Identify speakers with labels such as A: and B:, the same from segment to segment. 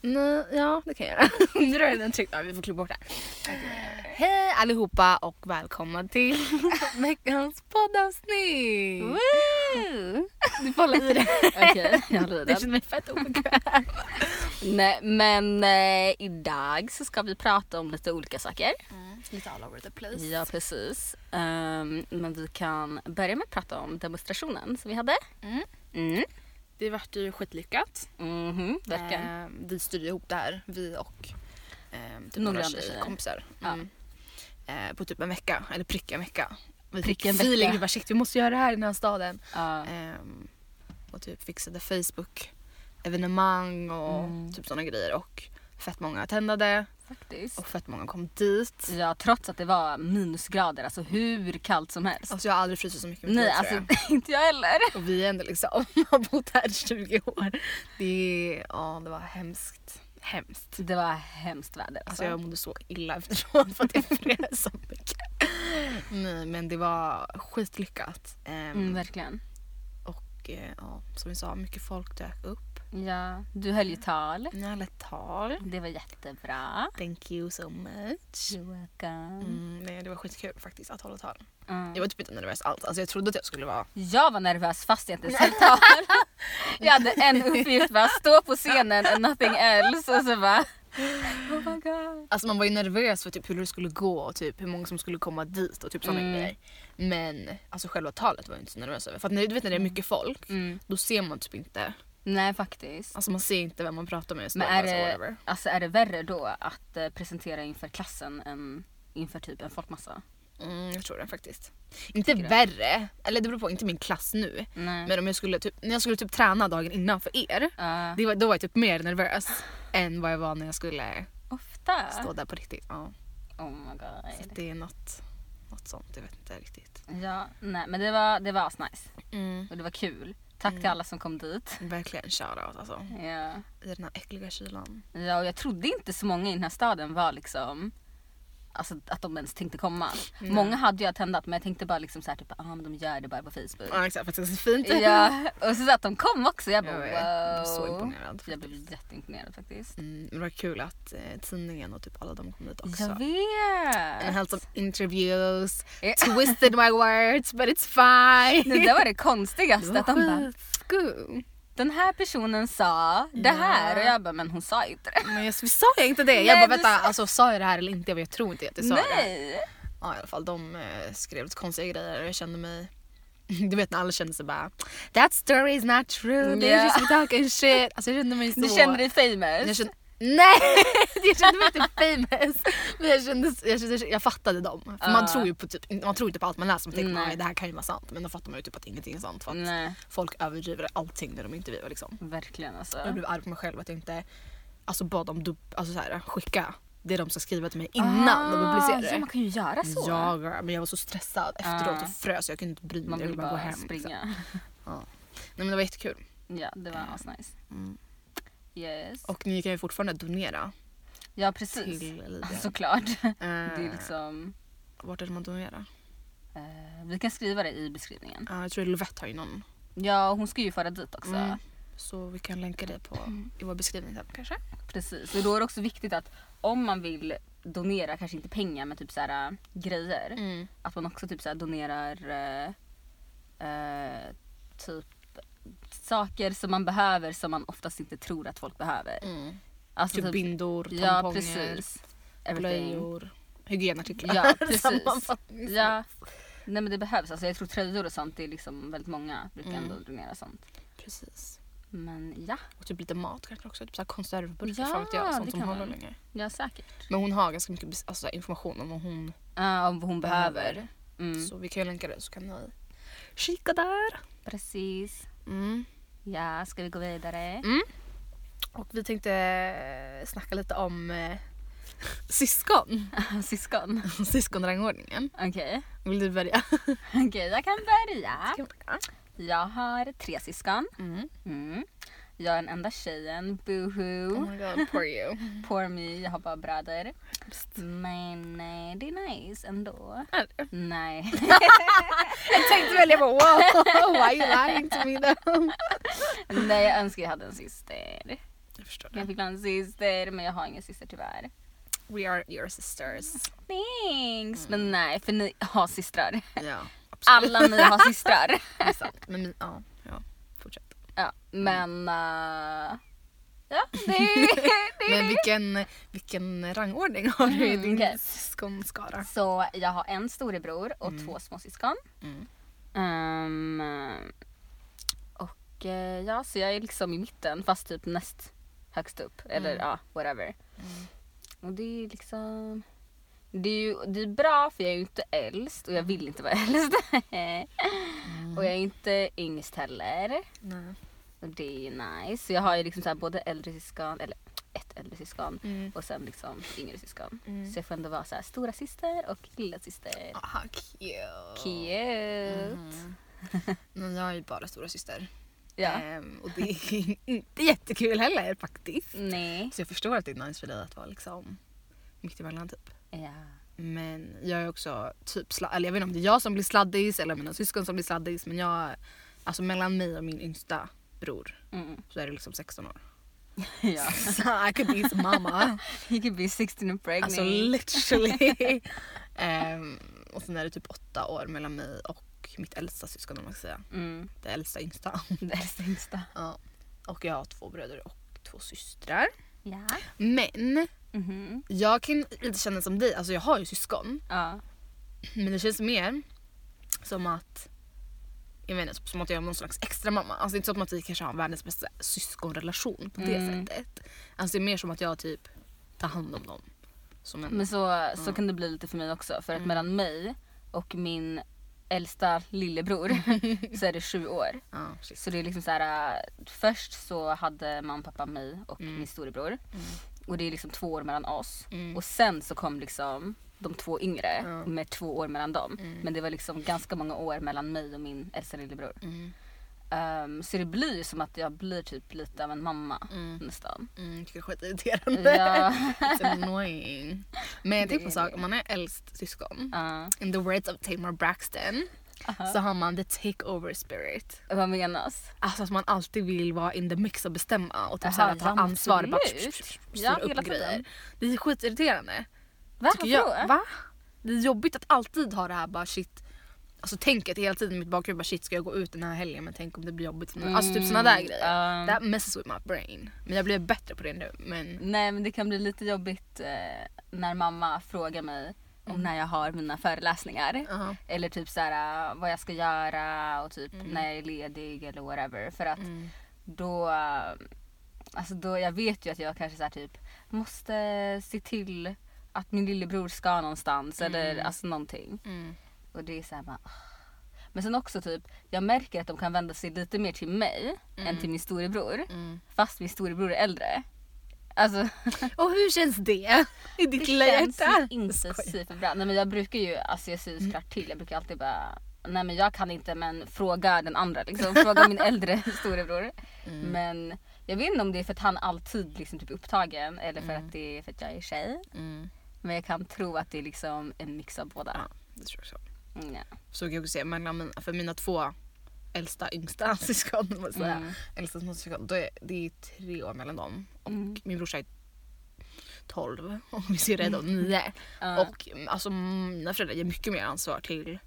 A: Nej, ja, det kan jag göra. Nu har jag redan tryckt. Ja, vi får klippa bort det. Hej allihopa och välkomna till veckans poddavsnitt.
B: Du får hålla i det. Okej, jag håller i
A: Det känns
B: den.
A: mig fett obekväm.
B: Nej, men eh, idag så ska vi prata om lite olika saker.
A: Lite all over the place.
B: Ja, precis. Ehm, men vi kan börja med att prata om demonstrationen som vi hade.
A: Mm.
B: Mm.
A: Det vart ju skitlyckat.
B: Mhm, verkligen.
A: Eh, vi styrde ihop det här, vi och eh, typ
B: Några
A: några
B: andra tjejer.
A: kompisar.
B: Ja.
A: Mm. Eh, på typ en vecka, eller pricka en vecka. Vi fick
B: Pricka en
A: feeling,
B: vecka.
A: vi bara shit vi måste göra det här i den här staden.
B: Ja.
A: Ehm, och typ fixade Facebook evenemang och
B: Mm.
A: typ sådana grejer och fett många attendade
B: faktiskt.
A: och fett många kom dit.
B: Ja, trots att det var minusgrader, alltså hur kallt som helst.
A: Alltså jag har aldrig frysit så mycket i mitt
B: Nej,
A: liv, tror
B: alltså inte jag heller.
A: jag. Och vi är ändå liksom, har bott här i 20 år. Det, ja, det var hemskt. Hemskt.
B: Det var hemskt väder. Alltså.
A: Alltså jag mådde så illa efteråt för att jag frös så mycket. Nej men det var skitlyckat. Ehm,
B: Mm, verkligen.
A: och eh, ja, som vi sa, mycket folk dök upp.
B: Ja, du höll ju
A: Mm.
B: tal.
A: Jag höll ett tal.
B: Det var jättebra.
A: Thank you so much.
B: You're welcome.
A: Mm, nej, det var skitkul faktiskt att hålla tal.
B: Mm.
A: Jag var typ inte nervös alls. Alltså, jag trodde att jag skulle vara...
B: Jag var nervös fast jag inte ens höll tal. Jag hade en uppgift bara stå på scenen and nothing else och så bara Oh my god.
A: Alltså, man var ju nervös för typ, hur det skulle gå och typ, hur många som skulle komma dit och typ sådana
B: Mm.
A: grejer. Men alltså, själva talet var jag inte så nervös över. För att när, du vet när det är mycket folk,
B: Mm.
A: då ser man typ inte.
B: Nej faktiskt.
A: Alltså man ser inte vem man pratar med. Så
B: Men
A: man
B: är
A: bara, så,
B: det,
A: whatever.
B: alltså, är det värre då att eh, presentera inför klassen än inför typ en folkmassa?
A: Mm, jag tror det faktiskt. Inte
B: du?
A: värre, eller det beror på, inte min klass nu.
B: Nej.
A: Men om jag skulle, typ, när jag skulle typ träna dagen innan för er,
B: Ja.
A: det var, då var jag typ mer nervös än vad jag var när jag skulle
B: ofta.
A: stå där på riktigt. Ja.
B: Oh my
A: Så att
B: god.
A: det är något, något sånt, jag vet inte riktigt.
B: Ja, nej, men det var, det var asnice och det var kul. Tack
A: Mm.
B: till alla som kom dit.
A: Verkligen shoutout alltså.
B: Ja.
A: I den här äckliga kylan.
B: Ja, och jag trodde inte så många i den här staden var liksom Alltså att de ens tänkte komma.
A: Mm.
B: Många hade ju attendat men jag tänkte bara liksom så här, typ, ah, men de gör det bara på Facebook.
A: Ja exakt, för att det ska se fint ut.
B: Ja, och så, så att de kom också. Jag bara
A: Jag
B: wow.
A: vet, jag blev så imponerad.
B: Jag blev jätteimponerad faktiskt.
A: Mm, men det var kul att eh, tidningen och typ alla de kom dit också.
B: Jag vet!
A: En hälsa interviews,
B: Ja.
A: twisted my words but it's fine.
B: Det där var det konstigaste. att de bara,
A: skitskum.
B: den här personen sa det
A: Ja.
B: här och jag bara men hon sa inte det.
A: Men jag sa jag inte det?
B: Nej,
A: Jag
B: du
A: bara vänta,
B: sa-
A: alltså, sa jag det här eller inte? Jag tror inte att jag sa det.
B: Nej!
A: Ja, i alla fall, de eh, skrev lite konstiga grejer och jag kände mig... Du vet när alla kände sig bara That story is not true, they're
B: Ja.
A: just talking shit. Alltså jag kände mig så...
B: Du kände dig famous.
A: Jag kände... Nej! Jag kände mig inte famous. Men jag, kände, jag, kände, jag fattade dem. För man,
B: Ja.
A: tror ju på typ, man tror inte på allt man läser, man tänker
B: Nej.
A: nej det här kan ju vara sant. Men då fattar man ju typ att ingenting är sant. För att
B: Nej,
A: folk överdriver allting när de intervjuar liksom.
B: verkligen alltså.
A: Jag blev arg på mig själv att jag inte alltså, bad dem dub- alltså, så här, skicka det de ska skriva till mig innan de publicerar
B: Ah, Ja,
A: det.
B: man kan ju göra så.
A: Ja, girl, men jag var så stressad efteråt.
B: Ah.
A: Jag frös, jag kunde inte bry mig.
B: Alltså. Man
A: jag
B: vill
A: ville
B: bara,
A: gå hem. liksom.
B: springa.
A: Nej, men det var jättekul.
B: Ja, det var
A: Eh,
B: asnice.
A: mm.
B: Yes.
A: Och ni kan ju fortfarande donera.
B: ja, precis.
A: Till Lydia.
B: Såklart. Det är
A: Eh,
B: liksom...
A: Vart är det man donerar?
B: eh, vi kan skriva det i beskrivningen.
A: Eh, jag tror Lovette har ju någon.
B: Ja, och hon ska ju föra dit också.
A: Mm. Så vi kan länka det på,
B: Mm.
A: i vår beskrivning sen kanske.
B: Precis. Och då är det också viktigt att om man vill donera, kanske inte pengar men typ så här, äh, grejer.
A: Mm.
B: Att man också typ så här, donerar eh, eh, typ saker som man behöver som man oftast inte tror att folk behöver.
A: Mm.
B: Alltså
A: Typ bindor,
B: Ja,
A: tamponger,
B: precis. Everything.
A: blöjor, hygienartiklar.
B: Ja, precis.
A: Sammanfattningsvis.
B: Ja. Nej men det behövs. Alltså, jag tror tröjor och sånt, det är liksom väldigt många brukar
A: Mm.
B: ändå donera sånt.
A: precis.
B: Men ja,
A: Och typ lite mat kanske också. Typ så här konservburkar,
B: Ja,
A: fan vet jag.
B: det
A: Sånt som
B: kan
A: håller
B: man.
A: länge.
B: ja säkert.
A: Men hon har ganska mycket bes- alltså, information om vad hon
B: Ja, om vad hon behöver. Mm.
A: Så vi kan ju länka det så kan ni kika där.
B: Precis.
A: Mm.
B: Ja, ska vi gå vidare?
A: Och vi tänkte eh, snacka lite om eh, syskon.
B: Syskon.
A: Syskonrangordningen.
B: Okej,
A: Vill du börja?
B: Okej, jag kan börja. Jag har tre syskon.
A: Mm.
B: Mm. Jag är den enda tjejen, boohoo.
A: Oh my god, poor you.
B: Poor me, jag har bara bröder. Men eh, det är nice ändå. Nej.
A: jag tänkte väl jag bara wow, why are you lying to me though?
B: Nej, jag önskar jag hade en syster.
A: jag förstår
B: Jag
A: det.
B: fick bland en syster men jag har ingen syster tyvärr.
A: We are your sisters.
B: Thanks! Men nej, för ni har systrar.
A: Ja, Mm. absolut.
B: Alla ni har systrar.
A: Det är sant. Men, min- ja, ja, fortsätt.
B: Ja, men... eh, ja, det är det. Är
A: Men
B: det.
A: vilken, vilken rangordning har du i
B: Mm,
A: din
B: okej.
A: syskonskara?
B: Så jag har en storebror och två småsyskon.
A: Mm.
B: Ehm, och eh, ja, så jag är liksom i mitten fast typ näst högst upp. Eller
A: Mm.
B: ja, whatever. Och det är liksom... Det är ju det är bra för jag är ju inte äldst och jag vill inte vara äldst.
A: Mm.
B: Och jag är inte yngst heller.
A: Nej.
B: Och det är ju nice. Så jag har ju liksom så här både äldre syskon, eller ett äldre syskon
A: Mm.
B: och sen liksom yngre syskon.
A: Mm.
B: Så jag får ändå vara så här stora syster och lilla syster.
A: Aha, ah, cute.
B: Cute!
A: Mm. Men jag är ju bara stora syster.
B: Ja.
A: Ehm, och det är inte jättekul heller faktiskt.
B: Nej.
A: Så jag förstår att det är nice för dig att vara liksom mitt emellan typ.
B: Ja.
A: Men jag är också typ sladd, eller jag vet inte om det är jag som blir sladdis eller mina syskon som blir sladdis men jag, alltså mellan mig och min yngsta bror
B: Mm.
A: så är det liksom 16 år.
B: ja.
A: I could be his mamma.
B: You could be 16 and pregnant.
A: alltså literally. Ehm, och sen är det typ åtta år mellan mig och mitt äldsta syskon om man ska säga.
B: mm.
A: Det äldsta yngsta.
B: Det är det yngsta.
A: ja. Och jag har två bröder och två systrar.
B: Ja.
A: Men
B: Mhm.
A: jag kan lite känna som dig, alltså jag har ju syskon.
B: Ja.
A: Men det känns mer som att jag menar, typ som att jag är någon slags extra mamma. Alltså inte som att vi kanske har världens bästa syskonrelation på det
B: Mm.
A: sättet. Alltså det är mer som att jag typ tar hand om dem. Som en,
B: Men så, så kan det bli lite för mig också. För att mellan mig och min äldsta lillebror så är det sju år.
A: ja, shit.
B: Så det är liksom så här, äh, först så hade mamma och pappa mig och
A: Mm.
B: min storebror. Och det är liksom två år mellan oss.
A: Mm.
B: Och sen så kom liksom de två yngre
A: Ja.
B: med två år mellan dem.
A: Mm.
B: Men det var liksom ganska många år mellan mig och min äldsta lillebror.
A: Mm,
B: Ehm, så det blir ju som att jag blir typ lite av en mamma
A: mm,
B: nästan.
A: mm, tycker det är skitirriterande.
B: Ja.
A: It's annoying. Men jag
B: Det
A: tänkte på en
B: är
A: sak,
B: det.
A: om man är äldst syskon,
B: Ja.
A: in the words of Tamar Braxton,
B: Uh-huh.
A: så har man the takeover spirit.
B: Vad menas?
A: Alltså att man alltid vill vara in the mix och bestämma och typ
B: Jaha,
A: såhär, ta
B: ja,
A: ansvar och bara
B: absolut.
A: psh, psh, psh, psh,
B: Ja,
A: styra
B: hela
A: upp
B: tiden.
A: grejer. Det är skitirriterande.
B: Va?
A: Tycker jag.
B: Varför då?
A: Va? Det är jobbigt att alltid ha det här bara shit. Alltså tänket hela tiden i mitt bakhuvud bara shit ska jag gå ut den här helgen men tänk om det blir jobbigt för mig. Alltså typ såna där
B: Mm,
A: grejer.
B: ja.
A: That messes with my brain. Men jag blev bättre på det nu men
B: Nej men det kan bli lite jobbigt eh, när mamma frågar mig
A: Mm.
B: om när jag har mina föreläsningar.
A: ja.
B: Eller typ såhär vad jag ska göra och typ när jag är ledig eller whatever. För att
A: Mm.
B: då, eh, alltså då, jag vet ju att jag kanske såhär typ måste se till att min lillebror ska någonstans eller alltså någonting.
A: Mm.
B: Och det är såhär bara ah. Men sen också typ, jag märker att de kan vända sig lite mer till mig än till min storebror.
A: Mm.
B: Fast min storebror är äldre. Alltså
A: Och hur känns det i ditt
B: det
A: lilla
B: känns
A: hjärta?
B: ju inte
A: Skoj.
B: superbra. Nej men jag brukar ju, alltså jag
A: Mm.
B: säger såklart till. Jag brukar alltid bara, nej men jag kan inte men fråga den andra liksom. Fråga min äldre storebror.
A: Mm.
B: Men jag vet inte om det är för att han alltid liksom typ är upptagen eller för att det är för att jag är tjej.
A: Mm.
B: Men jag kan tro att det är liksom en mix av båda.
A: Ja, det tror jag också.
B: Mm, ja.
A: Så kan jag också säga mellan mina, för mina två äldsta yngsta syskon, om man säger.
B: Mm.
A: äldsta små syskon, då är, det är tre år mellan dem. Och
B: Mm.
A: min brorsa är 12 och min syrra är då 9.
B: Mm. Ja.
A: Och mm, alltså, mina föräldrar ger mycket mer ansvar till,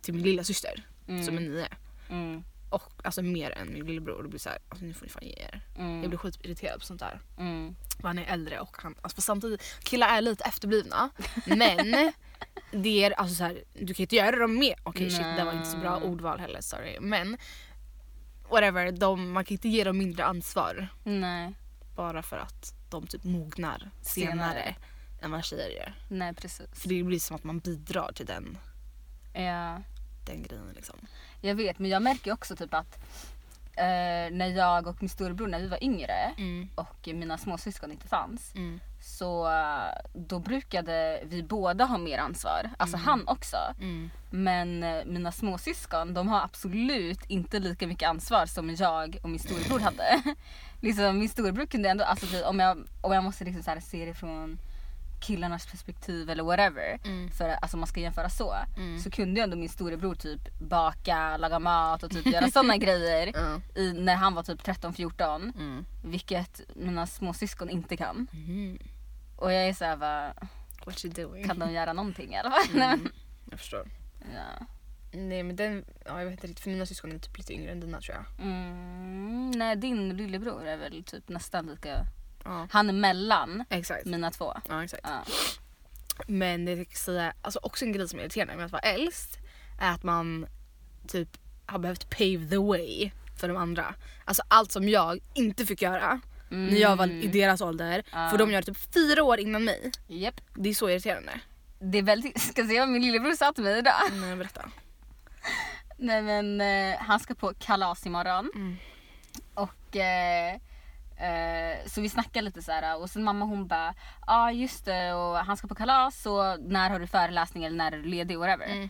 A: till min lilla syster
B: Mm.
A: som är 9.
B: Mm.
A: Och alltså mer än min lillebror. Det blir såhär, alltså, nu får ni fan ge er.
B: Mm.
A: Jag blir skitirriterad på sånt där.
B: Mm.
A: För han är äldre och han, alltså, för samtidigt, killar är lite efterblivna. Men det är alltså så här, du kan inte göra dem med. Okej shit det var inte så bra
B: Nej.
A: ordval heller, sorry. Men whatever, de, man kan inte ge dem mindre ansvar
B: Nej.
A: bara för att de typ mognar senare,
B: Senare.
A: än vad tjejer gör.
B: nej precis.
A: För det blir som att man bidrar till den,
B: Ja.
A: den grejen liksom.
B: Jag vet men jag märker ju också typ att eh, när jag och min storebror när vi var yngre
A: Mm,
B: och mina småsyskon inte fanns
A: mm,
B: så eh, då brukade vi båda ha mer ansvar. Alltså han också.
A: mm,
B: Men eh, mina småsyskon de har absolut inte lika mycket ansvar som jag och min storebror hade. liksom, min storebror kunde ändå, alltså, typ, om, jag, om jag måste liksom så här se det från killarnas perspektiv eller whatever.
A: Mm.
B: För alltså om man ska jämföra så.
A: Mm.
B: Så kunde ju ändå min storebror typ baka, laga mat och typ göra sådana grejer.
A: Ja.
B: I, när han var typ 13-14.
A: Mm.
B: Vilket mina småsyskon inte kan.
A: Mm.
B: Och jag är såhär bara,
A: What you doing?
B: kan de göra någonting i alla fall? Nej, men-
A: Jag förstår.
B: ja.
A: Nej men den, ja, jag vet inte riktigt för mina syskon är typ lite yngre än dina tror jag.
B: Mm, nej, din lillebror är väl typ nästan lika...
A: Ja.
B: Han är mellan
A: Exakt.
B: mina två.
A: Ja exakt.
B: Ja.
A: Men det ska jag säga, alltså också en grej som är irriterande med att vara äldst är att man typ har behövt pave the way för de andra. Alltså allt som jag inte fick göra
B: Mm.
A: när jag var i deras ålder
B: Ja.
A: får de göra typ fyra år innan mig.
B: Japp.
A: Det är så irriterande.
B: Det är väldigt... Ska se vad min lillebror sa till mig idag.
A: Nej berätta.
B: Nej men eh, han ska på kalas imorgon.
A: Mm.
B: Och eh, eh, så vi snackade lite så här och sen mamma hon bara ja ah, just det och han ska på kalas så när har du föreläsning eller när är du ledig whatever.
A: Mm.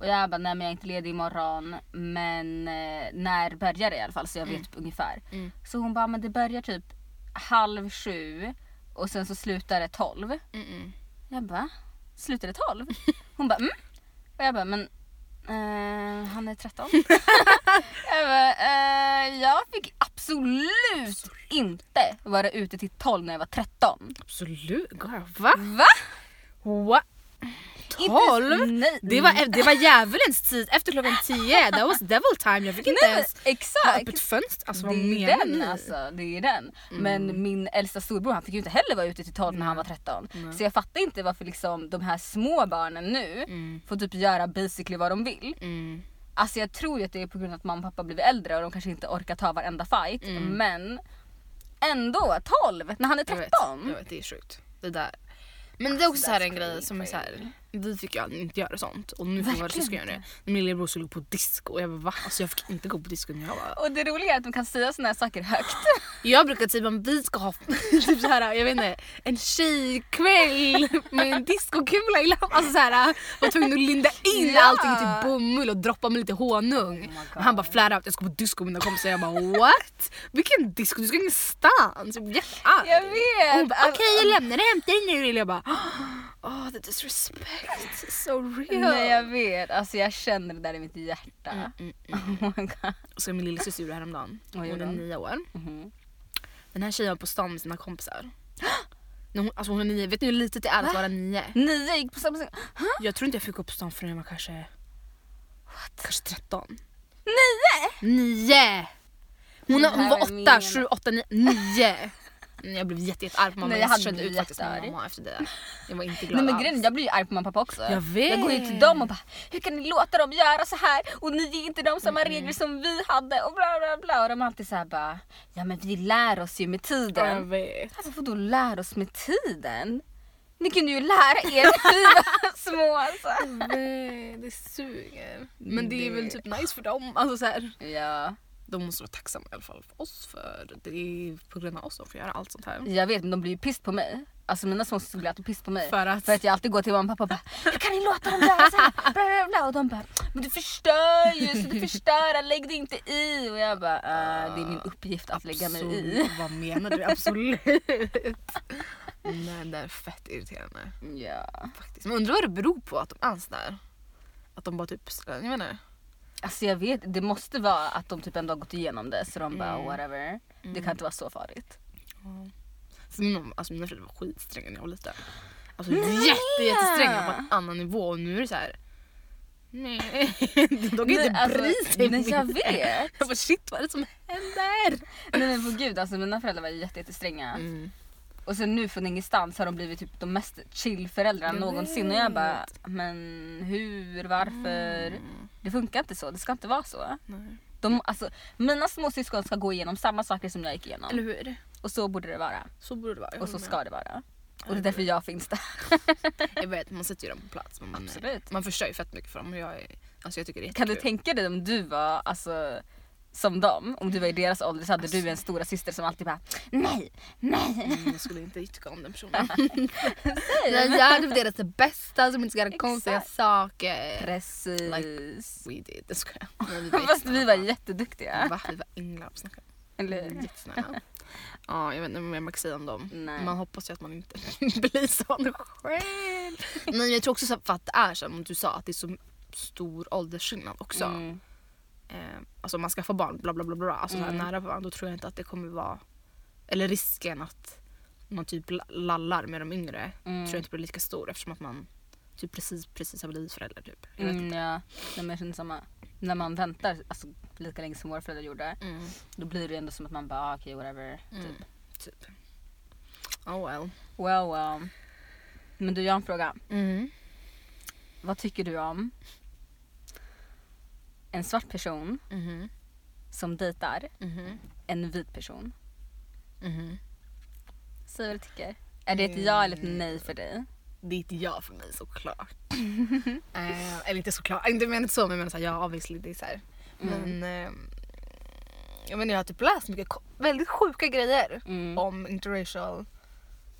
B: Och jag bara nej men jag är inte ledig imorgon men eh, när börjar det i alla fall så jag vet ungefär.
A: Mm.
B: Så hon bara men det börjar typ halv sju och sen så slutar det tolv.
A: Mm-mm.
B: Jag bara, slutar det 12? Hon bara, mm. Och jag bara, men eh, han är 13. jag bara, eh, jag fick absolut inte vara ute till 12 när jag var 13.
A: Absolut. Va?
B: Va?
A: What?
B: Inte- Mm.
A: Tolv?
B: Nej,
A: Det var, det var djävulens tid efter klockan tio. That was devil time. Jag fick inte
B: nej,
A: ens ha
B: exakt.
A: öppet fönster. Alltså
B: Det
A: vad
B: är
A: menar
B: den
A: ni?
B: alltså, det är den.
A: Mm.
B: Men min äldsta storbror han fick ju inte heller vara ute till 12 när han var 13. Så jag fattar inte varför liksom de här små barnen nu
A: Mm.
B: får typ göra basically vad de vill.
A: Mm.
B: Alltså jag tror ju att det är på grund av att mamma och pappa blivit äldre och de kanske inte orkar ta varenda fight. Men ändå 12 när han är
A: Mm. Jag vet,
B: 13.
A: Jag vet, det är sjukt. Det där. Men det är också
B: Alltså,
A: så här
B: that's
A: en grej
B: crazy.
A: som är så här. Vi fick ju aldrig inte göra sånt och nu får våra syskon göra det. Min lillebror skulle gå på disco och jag bara va? Alltså jag fick inte gå på disco när jag var...
B: Och det roliga är att de kan säga såna här saker högt.
A: Jag brukar typ om vi ska ha typ så här, jag vet inte, en tjejkväll med en discokula i lampan. Alltså så här, var tvungen att linda in
B: Ja. Oh
A: allting till bomull och droppa med lite honung.
B: my God.
A: och han bara flärde out, jag ska på disco med mina kompisar. Jag bara what? Vilken disco? Du ska ingenstans. Jag blev jättearg.
B: Jag vet.
A: Och hon bara, Okej
B: Alltså-
A: jag lämnar dig, hämtar dig nu. Lille. Jag bara oh the disrespect is so real.
B: Nej jag vet, alltså jag känner det där i mitt hjärta.
A: mm,
B: Oh my god.
A: Så min lillasyster gjorde det häromdagen.
B: Vad gjorde
A: Hon är
B: hon?
A: nio år.
B: Mhm.
A: Den här tjejen var på stan med sina kompisar. När hon, alltså hon är nio, vet ni hur litet det är att vara nio?
B: Nio gick på samma sätt.
A: Jag tror inte jag fick gå på stan förrän jag var kanske... Kanske 13.
B: Nio!
A: Nio! Hon,
B: Det
A: hon
B: här
A: var
B: är
A: åtta,
B: min-
A: sju, åtta, nio. nio. Nej, Jag blev jätte, jättearg på mamma.
B: Nej,
A: jag
B: jag hade
A: kände ut
B: blivit
A: faktiskt min
B: jättearg.
A: mamma efter det. där. Jag var inte glad
B: Nej men
A: alls.
B: grejen är, jag blir ju arg på mamma och pappa också.
A: Jag vet.
B: går ju till dem och bara hur kan ni låta dem göra så här och ni ger inte dem samma regler som vi hade och bla bla bla. Och de är alltid såhär bara ja men vi lär oss ju med
A: Ja,
B: tiden.
A: jag vet.
B: Alltså vadå lär oss med tiden? Ni kunde ju lära er när vi var små alltså.
A: Nej, det suger. Men det är
B: Det-
A: väl typ nice för dem. Alltså, så här.
B: Ja,
A: De måste vara tacksamma i alla fall för oss för det är på grund av oss de får göra allt sånt här.
B: jag vet men de blir ju piss på mig. Alltså mina småsyskon blir alltid piss på mig.
A: För att-
B: För att jag alltid går till mamma och pappa och bara hur kan ni låta dem göra så här? Bla, bla, bla. Och de bara men du förstör ju så du förstör, lägg dig inte i. Och jag bara "Eh, det är min uppgift att lägga mig i.
A: Absolut. Vad menar du? Absolut. Nej, det är fett irriterande
B: Ja.
A: faktiskt. Men undrar vad det beror på att de är sådär. Att de bara typ, jag menar.
B: Alltså jag vet, det måste vara att de typ ändå har gått igenom det så de bara
A: Mm.
B: whatever. Det kan inte vara så farligt.
A: Så min mamma, alltså mina föräldrar var skitstränga när jag var liten. Alltså jätte, jättestränga på en annan nivå och nu är det så här. Nej, de kan
B: Nej,
A: inte
B: alltså,
A: bry sig
B: nej, jag
A: mindre.
B: vet.
A: Jag bara shit vad är det som händer?
B: Nej men på gud alltså mina föräldrar var jätte- jättestränga.
A: Mm.
B: Och sen nu från ingenstans har de blivit typ de mest chill föräldrarna
A: Jag
B: någonsin. Och jag bara men hur, varför?
A: Mm.
B: Det funkar inte så, det ska inte vara så.
A: Nej.
B: De, alltså, mina småsyskon ska gå igenom samma saker som jag gick igenom.
A: Eller Mm. hur?
B: Och så borde det vara.
A: Så borde det vara. jag
B: Och så
A: håller med.
B: ska det vara. Och det
A: Mm.
B: är därför jag finns där.
A: Jag vet, man sätter ju dem på plats. Men man,
B: Absolut.
A: man förstör ju fett mycket för dem. och Jag, är, alltså jag tycker det är
B: Kan du
A: jättekul.
B: tänka dig om du var alltså, som dem? Om du var i deras ålder så hade du
A: Alltså-
B: en stora syster som alltid bara nej, nej.
A: Mm, jag skulle inte tycka om den personen.
B: nej."
A: Nej, jag hade deras det bästa som inte ska göra
B: Exakt.
A: konstiga saker.
B: Precis.
A: We did, det ska jag. Nej,
B: Fast vi var
A: jättesnälla.
B: jätteduktiga.
A: Va? Vi var änglar på snacka.
B: Eller hur?
A: Jättesnälla. Ja, jag vet inte vad mer man kan säga om dem.
B: Nej.
A: Man hoppas ju att man inte blir sån själv. Men jag tror också så för att det är så, som du sa, att det är så stor åldersskillnad också.
B: Mm.
A: Eh, alltså om man ska få barn, bla bla bla, bla alltså så här
B: Mm.
A: nära varandra, då tror jag inte att det kommer vara... Eller risken att man typ la- lallar med de yngre
B: Mm.
A: tror jag inte blir lika stor eftersom att man typ precis, precis har blivit förälder. Typ. Jag vet
B: Mm, ja. Nej, men jag känner samma. När man väntar alltså, lika länge som våra föräldrar gjorde,
A: inte. Mm.
B: då blir det ändå som att man bara ah, okej whatever.
A: Mm.
B: Typ.
A: Typ. Oh well.
B: Well well. Men du, jag har en fråga.
A: Mm.
B: Vad tycker du om en svart person
A: Mhm.
B: som dejtar
A: Mhm.
B: en vit person?
A: Mhm.
B: Säg vad du tycker. Är det ett ja eller ett nej för dig?
A: Det är ett ja för mig såklart. eh, eller inte såklart, inte menat så men jag menar såhär, ja obviously det är såhär.
B: Mm.
A: Men eh, jag, menar, jag har typ läst mycket ko- väldigt sjuka grejer
B: Mm.
A: om interracial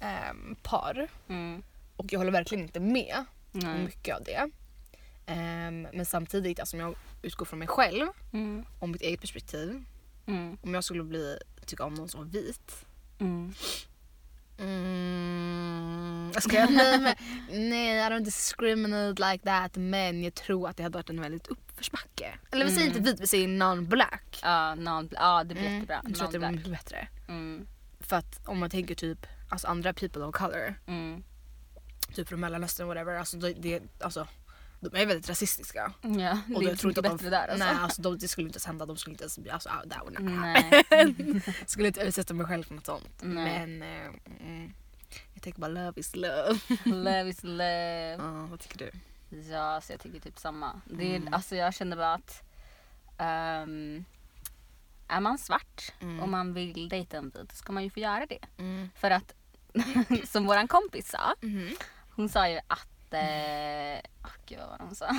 A: ehm, par
B: Mm.
A: och jag håller verkligen inte med om
B: Nej.
A: mycket av det. Ehm, men samtidigt, alltså, om jag utgår från mig själv
B: Mm.
A: om mitt eget perspektiv.
B: Mm.
A: Om jag skulle bli, tycka om någon som var vit.
B: Mm.
A: Mm. Ska jag, nej, men, nej, I don't discriminate like that. Men jag tror att det hade varit en väldigt uppförsbacke. Eller vi säger
B: Mm.
A: inte vit, vi säger non-black.
B: Ja, non, ja, det blir
A: Mm,
B: jättebra.
A: Jag tror att det blir
B: Non-black.
A: mycket bättre.
B: Mm.
A: För att om man tänker typ alltså andra people of color,
B: Mm.
A: typ från mellanöstern whatever, alltså, det, det, alltså, de är väldigt rasistiska.
B: Ja, det
A: Och
B: är
A: jag
B: inte mycket
A: att de-
B: bättre där alltså.
A: Nej, alltså, de, det skulle inte ens hända. De skulle inte ens, alltså, ah, that would not happen.
B: Nej.
A: Skulle inte utsätta mig själv för något sånt.
B: Nej.
A: Men eh, mm, jag tänker bara love is love.
B: Love is love.
A: Ja, vad tycker du?
B: Ja, så jag tycker typ samma. Det är,
A: Mm.
B: alltså, jag känner bara att ehm, är man svart
A: Mm.
B: och man vill dejta en vit ska man ju få göra det. För att som våran kompis sa,
A: Mhm.
B: hon sa ju att... Eh, åh, gud vad var det hon sa?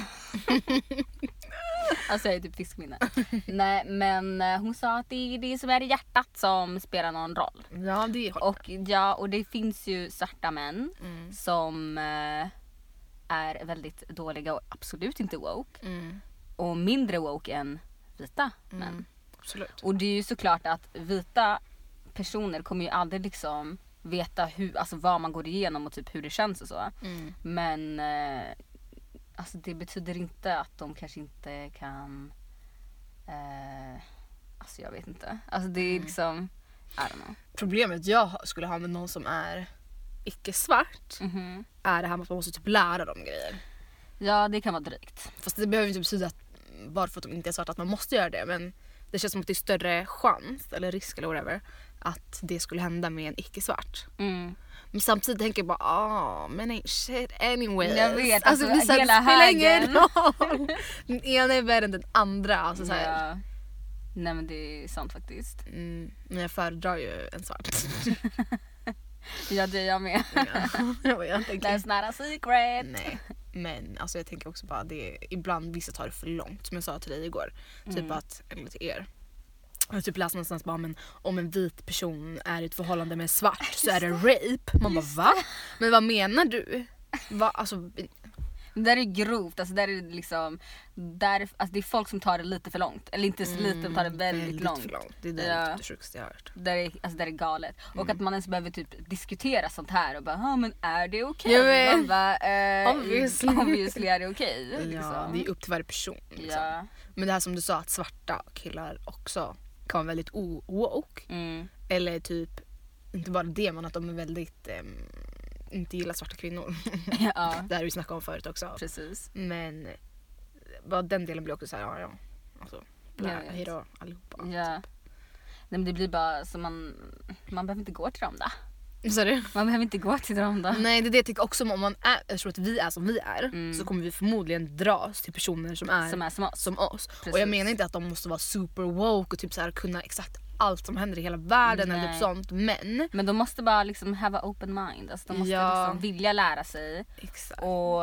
B: alltså jag är typ fiskminne. Nej men eh, hon sa att det är det som är i hjärtat som spelar någon roll.
A: Ja, det är
B: Och ja, och det finns ju svarta män
A: mm.
B: som eh, är väldigt dåliga och absolut inte woke.
A: Mm.
B: Och mindre woke än vita
A: Mm.
B: män.
A: Absolut.
B: Och det är ju såklart att vita personer kommer ju aldrig liksom veta hur, alltså vad man går igenom och typ hur det känns och så.
A: Mm.
B: Men eh, alltså det betyder inte att de kanske inte kan... Eh, alltså jag vet inte. Alltså det
A: Mm.
B: är liksom... I don't know.
A: Problemet jag ha- skulle ha med någon som är icke-svart
B: Mhm.
A: är det här med att man måste typ lära dem grejer.
B: Ja det kan vara drygt.
A: Fast det behöver ju inte betyda att bara för att de inte är svarta att man måste göra det men det känns som att det är större chans eller risk eller whatever att det skulle hända med en icke-svart.
B: Mm.
A: Men samtidigt tänker jag bara ah men ain't shit anyways.
B: Jag vet,
A: alltså,
B: alltså,
A: det, är så här,
B: hela
A: det spelar ingen
B: högen.
A: roll. Den ena är värre än den andra. Alltså, så här,
B: Ja. Nej men det är sant faktiskt.
A: mm, men jag föredrar ju en svart.
B: Ja det är jag med.
A: Ja, jag tänker,
B: That's not a secret.
A: nej. Men alltså, jag tänker också bara det ibland vissa tar det för långt som jag sa till dig igår. Typ
B: Mm.
A: att, eller till er. Jag har typ läst någonstans bara men om en vit person är i ett förhållande med en svart så är det rape. Man bara va? Men vad menar du? Va? Alltså,
B: Det där är grovt, alltså där är det liksom, där, alltså det är folk som tar det lite för långt. Eller inte så lite, de tar det Mm, väldigt, långt.
A: mm, för långt. Det är det,
B: Ja.
A: det sjukaste jag har hört.
B: Där är, alltså där är galet. Och att man ens behöver typ diskutera sånt här och bara, ja men är det okej?
A: Jag vet.
B: Man bara, eh,
A: Obviously.
B: obviously är det okej.
A: Ja,
B: liksom.
A: det är upp till varje person. Liksom.
B: ja.
A: Men det här som du sa att svarta killar också kan vara väldigt o-woke.
B: Mm.
A: Eller typ, inte bara det men att de är väldigt, ehm, inte gillar svarta kvinnor.
B: ja,
A: det här har vi snackat om förut också.
B: precis.
A: Men bara den delen blir också så här, ja ja. Alltså,
B: Jag
A: blä,
B: vet.
A: hejdå allihopa.
B: Ja. Nej, men det blir bara så man, man behöver inte gå till dem då.
A: Vad sa du?
B: Man behöver inte gå till dem då.
A: Nej det är det jag tycker också om, om man är, jag tror att vi är som vi är
B: Mm.
A: så kommer vi förmodligen dras till personer som är
B: Som är som oss.
A: som oss. Och jag
B: Precis.
A: menar inte att de måste vara super woke och typ så här kunna exakt allt som händer i hela världen eller
B: Nej.
A: typ sånt. Men
B: Men de måste bara liksom have a open mind. Alltså de måste
A: Ja.
B: liksom vilja lära sig
A: exakt.
B: och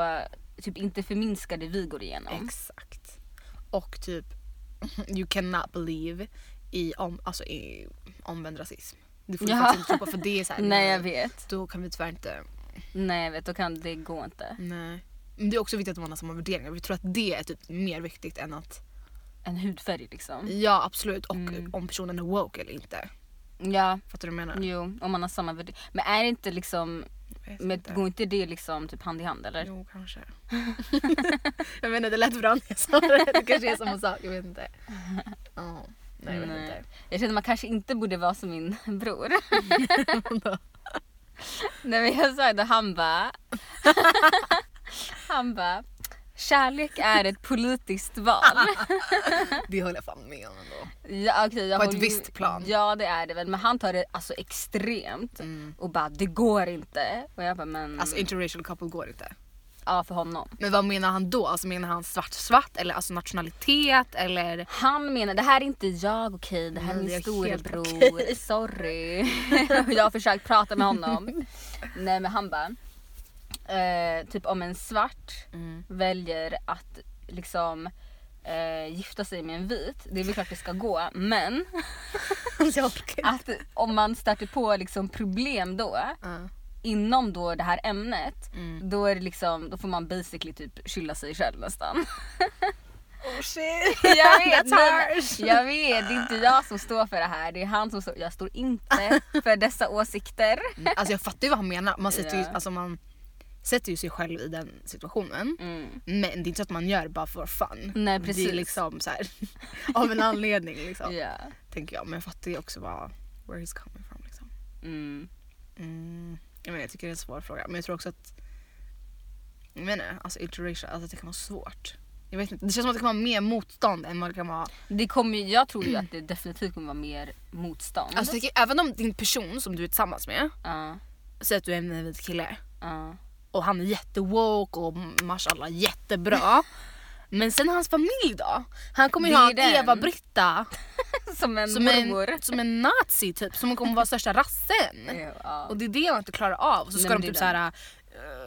B: typ inte förminska det vi går igenom.
A: exakt. Och typ you cannot believe i, om, alltså, i omvänd rasism. Det får vi
B: Ja.
A: faktiskt inte tro på för det är så här, eh,
B: Nej jag vet.
A: då kan vi tyvärr inte.
B: Nej jag vet, då kan det gå inte.
A: Nej. Men det är också viktigt att man har samma värderingar. Vi tror att det är typ mer viktigt än att
B: En hudfärg liksom.
A: ja absolut och
B: Mm.
A: om personen är woke eller inte.
B: Ja,
A: Fattar du vad jag menar?
B: jo, om man har samma värdering. Men är det inte liksom,
A: Jag vet
B: men
A: inte.
B: går inte det liksom typ hand i hand eller?
A: Jo, kanske. jag menar det lät bra när jag sa det. Det kanske är samma sak, jag vet inte. Ja, nej, jag vet
B: Nej.
A: inte.
B: Jag känner att man kanske inte borde vara som min bror. Nej men jag sa det han bara... han bara... Kärlek är ett politiskt val.
A: Det håller jag fan med om ändå.
B: Ja, okej, jag
A: På ett
B: håller ju-
A: visst plan.
B: Ja det är det väl men han tar det alltså extremt.
A: Mm.
B: Och bara det går inte. Och jag bara men...
A: Alltså interracial couple går inte.
B: ja för honom.
A: Men vad menar han då? Alltså menar han svart-svart eller alltså nationalitet eller?
B: Han menar det här är inte jag okej det här är
A: Nej,
B: min
A: Mm, det är helt
B: storebror.
A: okej.
B: Sorry. Och jag har försökt prata med honom. Nej men han bara... Eh, typ om en svart väljer att liksom eh, gifta sig med en vit, det är väl klart det ska gå men
A: Alltså jag orkar inte.
B: att om man stöter på liksom problem då
A: Ja.
B: inom då det här ämnet
A: Mm.
B: då, är det liksom, då får man basically typ skylla sig själv nästan.
A: Oh shit.
B: Jag vet,
A: That's
B: men-
A: harsh.
B: jag vet, det är inte jag som står för det här. Det är han som står, jag står inte för dessa åsikter.
A: Alltså jag fattar ju vad han menar. Man sätter, ju,
B: Ja.
A: alltså man sätter ju sig själv i den situationen.
B: Mm.
A: Men det är inte så att man gör det bara för fun.
B: Nej
A: Det
B: precis.
A: är liksom så här, av en anledning liksom.
B: ja.
A: Tänker jag. Men jag fattar ju också vad, where he's coming from liksom.
B: mm.
A: Mm. Jag, menar, jag tycker det är en svår fråga. Men jag tror också att, jag menar, alltså interracial, alltså det kan vara svårt. Jag vet inte, det känns som att det kan vara mer motstånd än vad det kan vara.
B: det kommer, ju- jag tror ju att det definitivt kommer vara mer motstånd.
A: Alltså jag tycker, även om din person som du är tillsammans med,
B: Ja,
A: säger att du är en vit kille.
B: ja.
A: och han är jättewoke och mashallah jättebra. Men sen hans familj då? Han kommer ju
B: Det är
A: ha en
B: den.
A: Eva-Britta
B: Som en
A: som
B: mormor.
A: en, som en nazi typ, som kommer vara största rassen.
B: Ja.
A: Och det är det jag inte klarar av. Och så ska
B: Nej, men
A: de
B: det
A: typ
B: är
A: såhär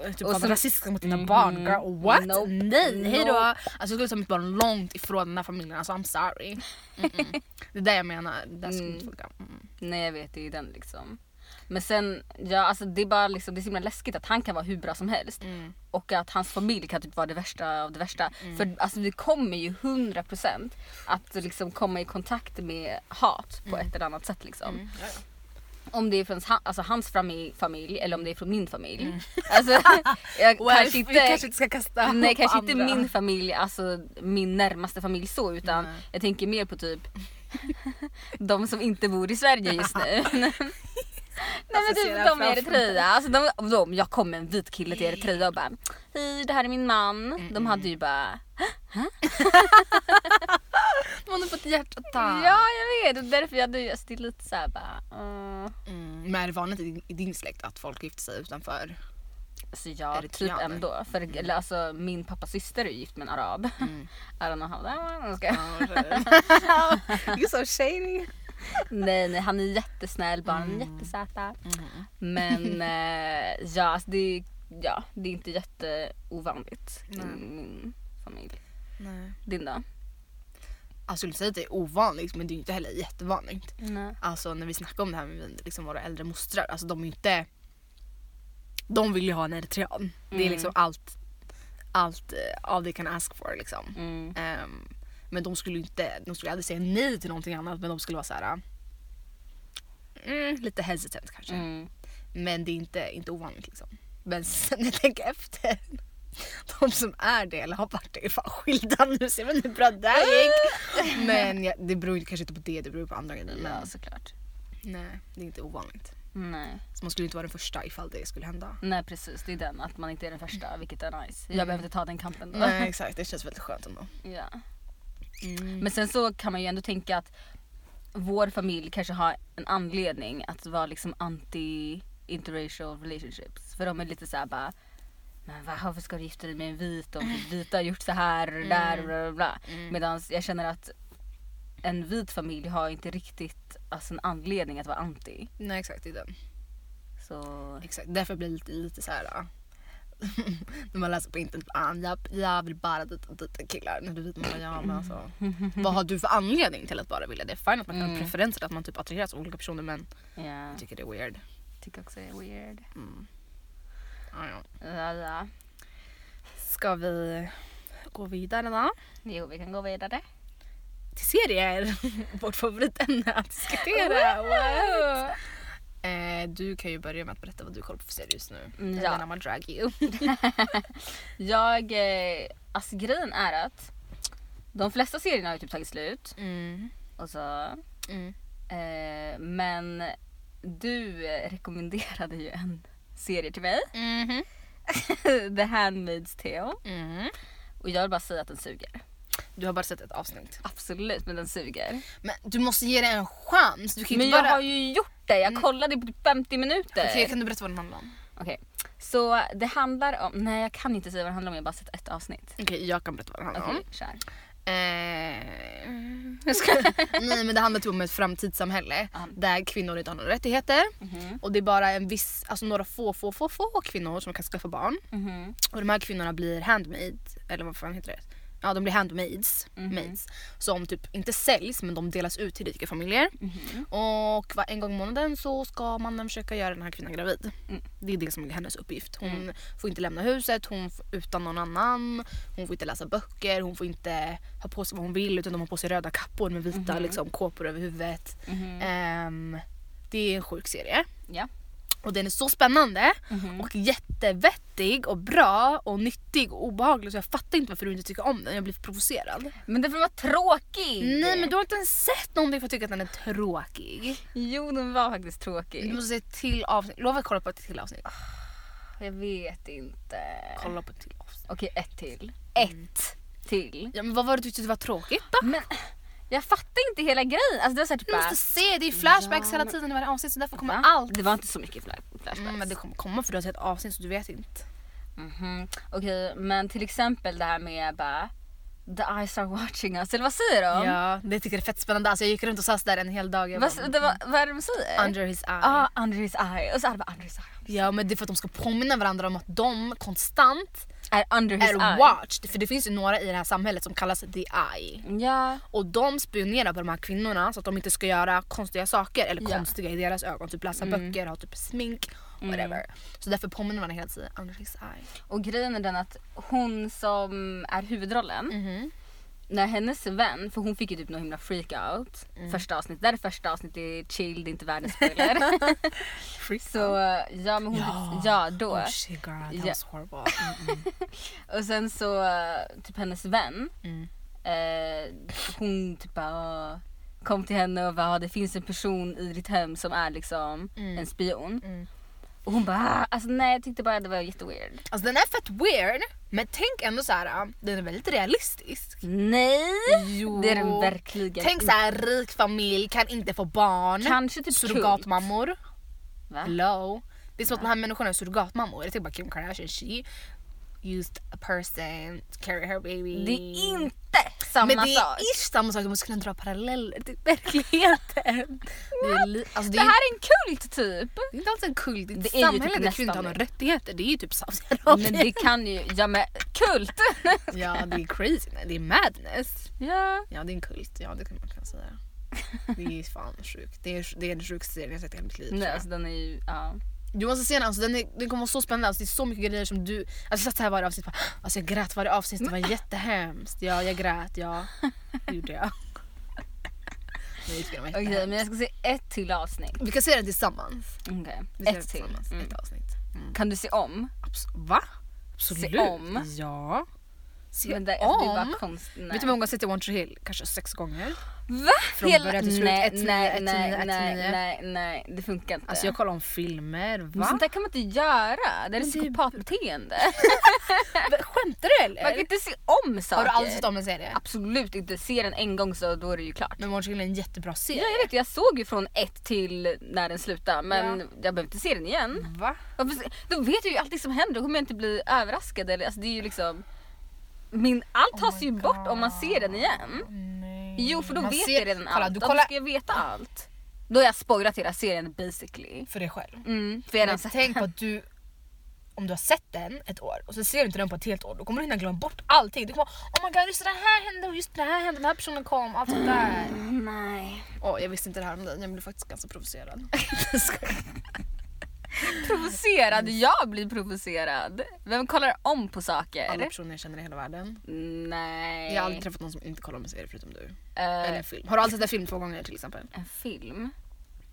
A: eh, typ
B: Och
A: vara
B: som-
A: rasistiska mot dina
B: Mhm.
A: barn girl, what?
B: Nope.
A: Nej, hejdå!
B: Nope.
A: Alltså jag skulle ta mitt barn långt ifrån den här familjen, alltså I'm sorry. Mm-mm. Det är det jag menar, det där skulle
B: Mm.
A: inte funka. Mm.
B: Nej jag vet, det är den liksom. Men sen, ja, alltså, det, är bara liksom, det är så himla läskigt att han kan vara hur bra som helst.
A: Mm.
B: Och att hans familj kan typ vara det värsta av det värsta. För alltså, vi kommer ju 100% att liksom, komma i kontakt med hat på ett eller annat sätt. Liksom.
A: Mm. Ja,
B: Om det är från han, alltså, hans fami- familj eller om det är från min familj. Alltså, jag
A: Mm. Well,
B: kanske
A: vi
B: inte...
A: kanske inte ska kasta
B: Nej
A: på
B: kanske inte
A: andra.
B: min familj, alltså min närmaste familj så utan
A: Nej.
B: jag tänker mer på typ de som inte bor i Sverige just nu. Nej men
A: Associerar
B: typ de i
A: framför
B: Eritrea, alltså de, de, jag kom med en vit kille till Eritrea och bara hej det här är min man.
A: Mm,
B: De hade ju bara
A: Man har fått hjärtattack.
B: ja jag vet och därför jag hade ju, alltså, det är lite såhär bara mm.
A: Mm. Men är det vanligt i din, i din släkt att folk gifter sig utanför?
B: Alltså ja, typ
A: Eritreaner.
B: ändå. För, eller, alltså, min pappas syster är ju gift med en arab.
A: Mm.
B: I don't know how that one ska jag-
A: You're so shady.
B: Nej, nej han är jättesnäll, barnen är jättesöta. Men eh, ja, alltså det, ja, det är inte jätteovanligt i
A: Nej.
B: min familj.
A: Nej.
B: Din då?
A: Alltså, jag skulle säga att det är ovanligt men det är ju inte heller jättevanligt.
B: Nej.
A: Alltså när vi snackar om det här med liksom, våra äldre mostrar, alltså de är ju inte... De vill ju ha en eritrean. Det är
B: Mm.
A: liksom allt, allt eh, all they can ask for liksom.
B: Mm.
A: Ehm, men de skulle ju inte, de skulle aldrig säga nej till någonting annat men de skulle vara så här. Mm, lite hesitant kanske.
B: Mm.
A: Men det är inte, inte ovanligt liksom. Men sen när jag tänker efter. De som är det eller har varit det är fan skilda nu. Ser man hur bra det här gick? Men ja, det beror ju kanske inte på det, det beror ju på andra grejer. Men alltså,
B: Ja, såklart.
A: nej, det är inte ovanligt.
B: Nej.
A: Så man skulle inte vara den första ifall det skulle hända.
B: nej, precis. Det är den. Att man inte är den första, vilket är nice. Jag behöver inte ta den kampen då.
A: Nej exakt, det känns väldigt skönt ändå.
B: Ja.
A: Mm.
B: Men sen så kan man ju ändå tänka att vår familj kanske har en anledning att vara liksom anti interracial relationships. För de är lite såhär bara men va, varför ska du gifta dig med en vit och vita har gjort så här och där och bla bla bla.
A: Mm.
B: Medan jag känner att en vit familj har inte riktigt alltså, en anledning att vara anti.
A: Nej exakt, det är den.
B: Så
A: Exakt. Därför blir det lite, lite så här. ah, när man läser på internet, ah, jag, jag vill bara dit, dit killar. När du vet man bara, ja, men alltså, vad har du för anledning till att bara vilja det? Fine att man kan ha
B: Mm.
A: preferenser, att man typ attraheras av olika personer men
B: ja,
A: jag tycker det är weird.
B: tycker också det är weird.
A: Mm. Ja, ja.
B: Ja, ja.
A: Ska vi gå vidare då?
B: Jo vi kan gå vidare.
A: till serier. Vårt favoritämne att diskutera. Wow. Eh, du kan ju börja med att berätta vad du kollar på för serie just nu.
B: Mm,
A: Eller
B: ja.
A: när man drag you.
B: Jag, eh, alltså grejen är att de flesta serierna har ju typ tagit slut.
A: Mm.
B: Och så,
A: Mm.
B: eh, men du eh, rekommenderade ju en serie till mig.
A: Mhm.
B: The Handmaid's Tale.
A: Mm.
B: Och jag vill bara säga att den suger.
A: Du har bara sett ett avsnitt.
B: Absolut, men den suger.
A: Men du måste ge den en chans. Du kan ju
B: Men
A: inte
B: jag
A: bara... Mm.
B: har ju gjort det. Jag kollade på typ 50 minuter.
A: Okej, kan du berätta vad den handlar om?
B: Okej. Så det handlar om... Nej, jag kan inte säga vad det handlar om. Jag har bara sett ett avsnitt.
A: Okej, jag kan berätta vad den handlar
B: Okej,
A: om.
B: kör.
A: Eh, jag ska... Nej men det handlar typ om ett framtidssamhälle
B: Ja.
A: där kvinnor inte har några rättigheter
B: Mhm.
A: och det är bara en viss, alltså några få, få, få, få kvinnor som kan skaffa barn
B: Mhm.
A: och de här kvinnorna blir handmade, eller vad fan heter det? Ja de blir handmaids,
B: Mhm.
A: maids, som typ inte säljs men de delas ut till rika familjer
B: Mhm.
A: och var en gång i månaden så ska mannen försöka göra den här kvinnan gravid.
B: Mm.
A: Det är det som är hennes uppgift. Hon
B: Mm.
A: får inte lämna huset hon f- utan någon annan. Hon får inte läsa böcker, hon får inte ha på sig vad hon vill utan de har på sig röda kappor med vita
B: Mhm.
A: liksom, kåpor över huvudet.
B: Mhm.
A: Ehm, det är en sjuk serie.
B: Ja.
A: Och den är så spännande
B: Mhm.
A: Mm. och jättevettig och bra och nyttig och obehaglig så jag fattar inte varför du inte tycker om den. Jag blir provocerad.
B: Men den var tråkig!
A: Nej men du har inte ens sett någonting för att tycka att den är tråkig.
B: Jo, den var faktiskt
A: Du
B: tråkig.
A: måste se ett till avsnitt. Lova att kolla på ett till avsnitt.
B: Jag vet inte.
A: Ah, Kolla på ett till avsnitt.
B: Okej, ett till. Ett till.
A: Ja, men vad var det du tyckte var tråkigt då?
B: Men jag fattar inte hela grejen. Alltså, det var så här typ
A: Du måste se, det är flashbacks hela tiden i varje avsnitt så därför kommer
B: Va?
A: allt.
B: Det var inte så mycket flash- flashbacks.
A: Mm, men det kommer komma för du har sett avsnitt så du vet inte.
B: Mhm. Okej, men till exempel det här med bara The eyes are watching us, eller vad säger de?
A: Ja, det tycker jag är fett spännande. Alltså, jag gick runt och satt där en hel dag. Jag bara,
B: Vad, det var, vad är det de säger?
A: Under his eye.
B: Ja, under his eye. Och så är det bara under his eye.
A: Ja men det är för att de ska påminna varandra om att de konstant
B: Är under his
A: är
B: eye.
A: watched. För det finns ju några i det här samhället som kallas the eye.
B: Ja.
A: Och de spionerar på de här kvinnorna så att de inte ska göra konstiga saker. Eller
B: Ja.
A: konstiga i deras ögon. Typ läsa
B: Mm.
A: böcker, ha typ smink, whatever. Så därför påminner man hela tiden under his eye.
B: Och grejen är den att hon som är huvudrollen, när hennes vän, för hon fick ju typ någon himla freakout
A: Mm.
B: första avsnittet. Det här är första avsnittet, det är chill, det är inte världens spoiler. så ja men hon
A: Ja.
B: ja, ja då.
A: Oh shit girl, that
B: Ja.
A: was horrible. Mm, mm.
B: Och sen så eh, typ hennes vän,
A: Mm.
B: eh, hon typ bara "Ah", kom till henne och bara "Ah, det finns en person i ditt hem som är liksom
A: Mm.
B: en spion.
A: Mm.
B: Och hon bara "Ah", alltså nej jag tyckte bara det var jätteweird.
A: Alltså den är fett weird, men tänk ändå så här, äh, den är väldigt realistisk.
B: Nej!
A: Jo.
B: Det är den verkligen
A: Tänk så här, rik familj, kan inte få barn.
B: inte. Kanske typ kult.
A: surrogatmammor.
B: Va?
A: Hello. Det är som att de här människorna är surrogatmammor. Jag tänker bara Kim Kardashian, she used a person to carry her baby.
B: Det är inte samma
A: Men det är
B: sak.
A: ish samma sak, du måste kunna dra paralleller till verkligheten. Det är, li- alltså det
B: Det
A: är
B: här är en kult typ.
A: Det är inte alls en kult, det är ett
B: Det är ju
A: samhälle
B: typ
A: där kvinnor inte
B: nästan
A: har några
B: det.
A: rättigheter. Det är ju typ
B: Men
A: Saudiarabien.
B: det kan ju, ja men kult!
A: Ja det är crazy, Nej, det är madness.
B: Ja.
A: Ja det är en kult, ja det kan man kunna säga. Det är fan sjukt. Det är, det är den sjukaste serien jag sett i hela mitt liv. tror
B: Nej
A: jag.
B: alltså den är ju, ja.
A: Du måste se den, alltså, den, är, den kommer vara så spännande. Alltså, det är så mycket grejer som du... Alltså, jag satt här varje avsnitt och bara, alltså, jag grät varje avsnitt, det var jättehemskt. Ja jag grät, ja. Det gjorde jag. Men jag tycker den var
B: Okej
A: jättehemsk.
B: men jag ska se ett till avsnitt.
A: Vi kan se den tillsammans.
B: Okej,
A: Vi ser den
B: ett till.
A: tillsammans,
B: Mm.
A: Ett avsnitt.
B: Kan du se om?
A: Abs- Va? Absolut.
B: Se om.
A: Ja. Se
B: Men det,
A: om.
B: alltså, det är bara konst... Nej.
A: Vet du hur många gånger jag sett i One Tree Hill? Kanske sex gånger.
B: Va?
A: Från början till slut,
B: nej,
A: ett till nio, ett
B: nej,
A: till nio, ett
B: nej,
A: till
B: nej,
A: nio.
B: nej, nej, det funkar inte.
A: Alltså jag kollar om filmer.
B: men
A: Va?
B: sånt där kan man inte göra, det är
A: Men det är-
B: psykopatbeteende.
A: Skämtar du eller?
B: Man kan inte se om saker.
A: Har du aldrig sett om en serie?
B: Absolut inte, se den en gång så då är det ju klart.
A: Men One Tree Hill är en jättebra serie.
B: Ja, jag vet, jag såg ju från ett till när den slutade men
A: Ja. Mm.
B: jag behöver inte se den igen.
A: Va?
B: Varför se- Då vet jag ju allt det som händer, då kommer jag inte bli överraskad. Eller, alltså, det är ju liksom, min, allt
A: Oh
B: tas
A: my
B: ju bort om man
A: God.
B: ser den igen.
A: Nej.
B: Jo för då
A: Man
B: vet
A: ser-
B: jag redan
A: Kolla,
B: allt.
A: Du
B: Varför
A: kollar
B: ska jag veta allt? Då har jag spoilat hela serien basically.
A: för dig själv.
B: Mm, för jag har redan
A: Men
B: sett
A: tänk på att du, om du har sett den ett år och så ser du inte den på ett helt år, då kommer du hinna glömma bort allting. Du kommer oh my god just det här hände och just det här hände, den här personen kom, allt sånt där.
B: Nej.
A: Åh jag visste inte det här om dig, jag blev faktiskt ganska provocerad. Mm.
B: provocerad? Jag blir provocerad. Vem kollar om på
A: Alla
B: saker?
A: personer jag känner i hela världen.
B: Nej.
A: Jag har aldrig träffat någon som inte kollar på serier förutom du.
B: Eh,
A: Eller en film. Har du alltid sett en film två gånger till exempel?
B: en film?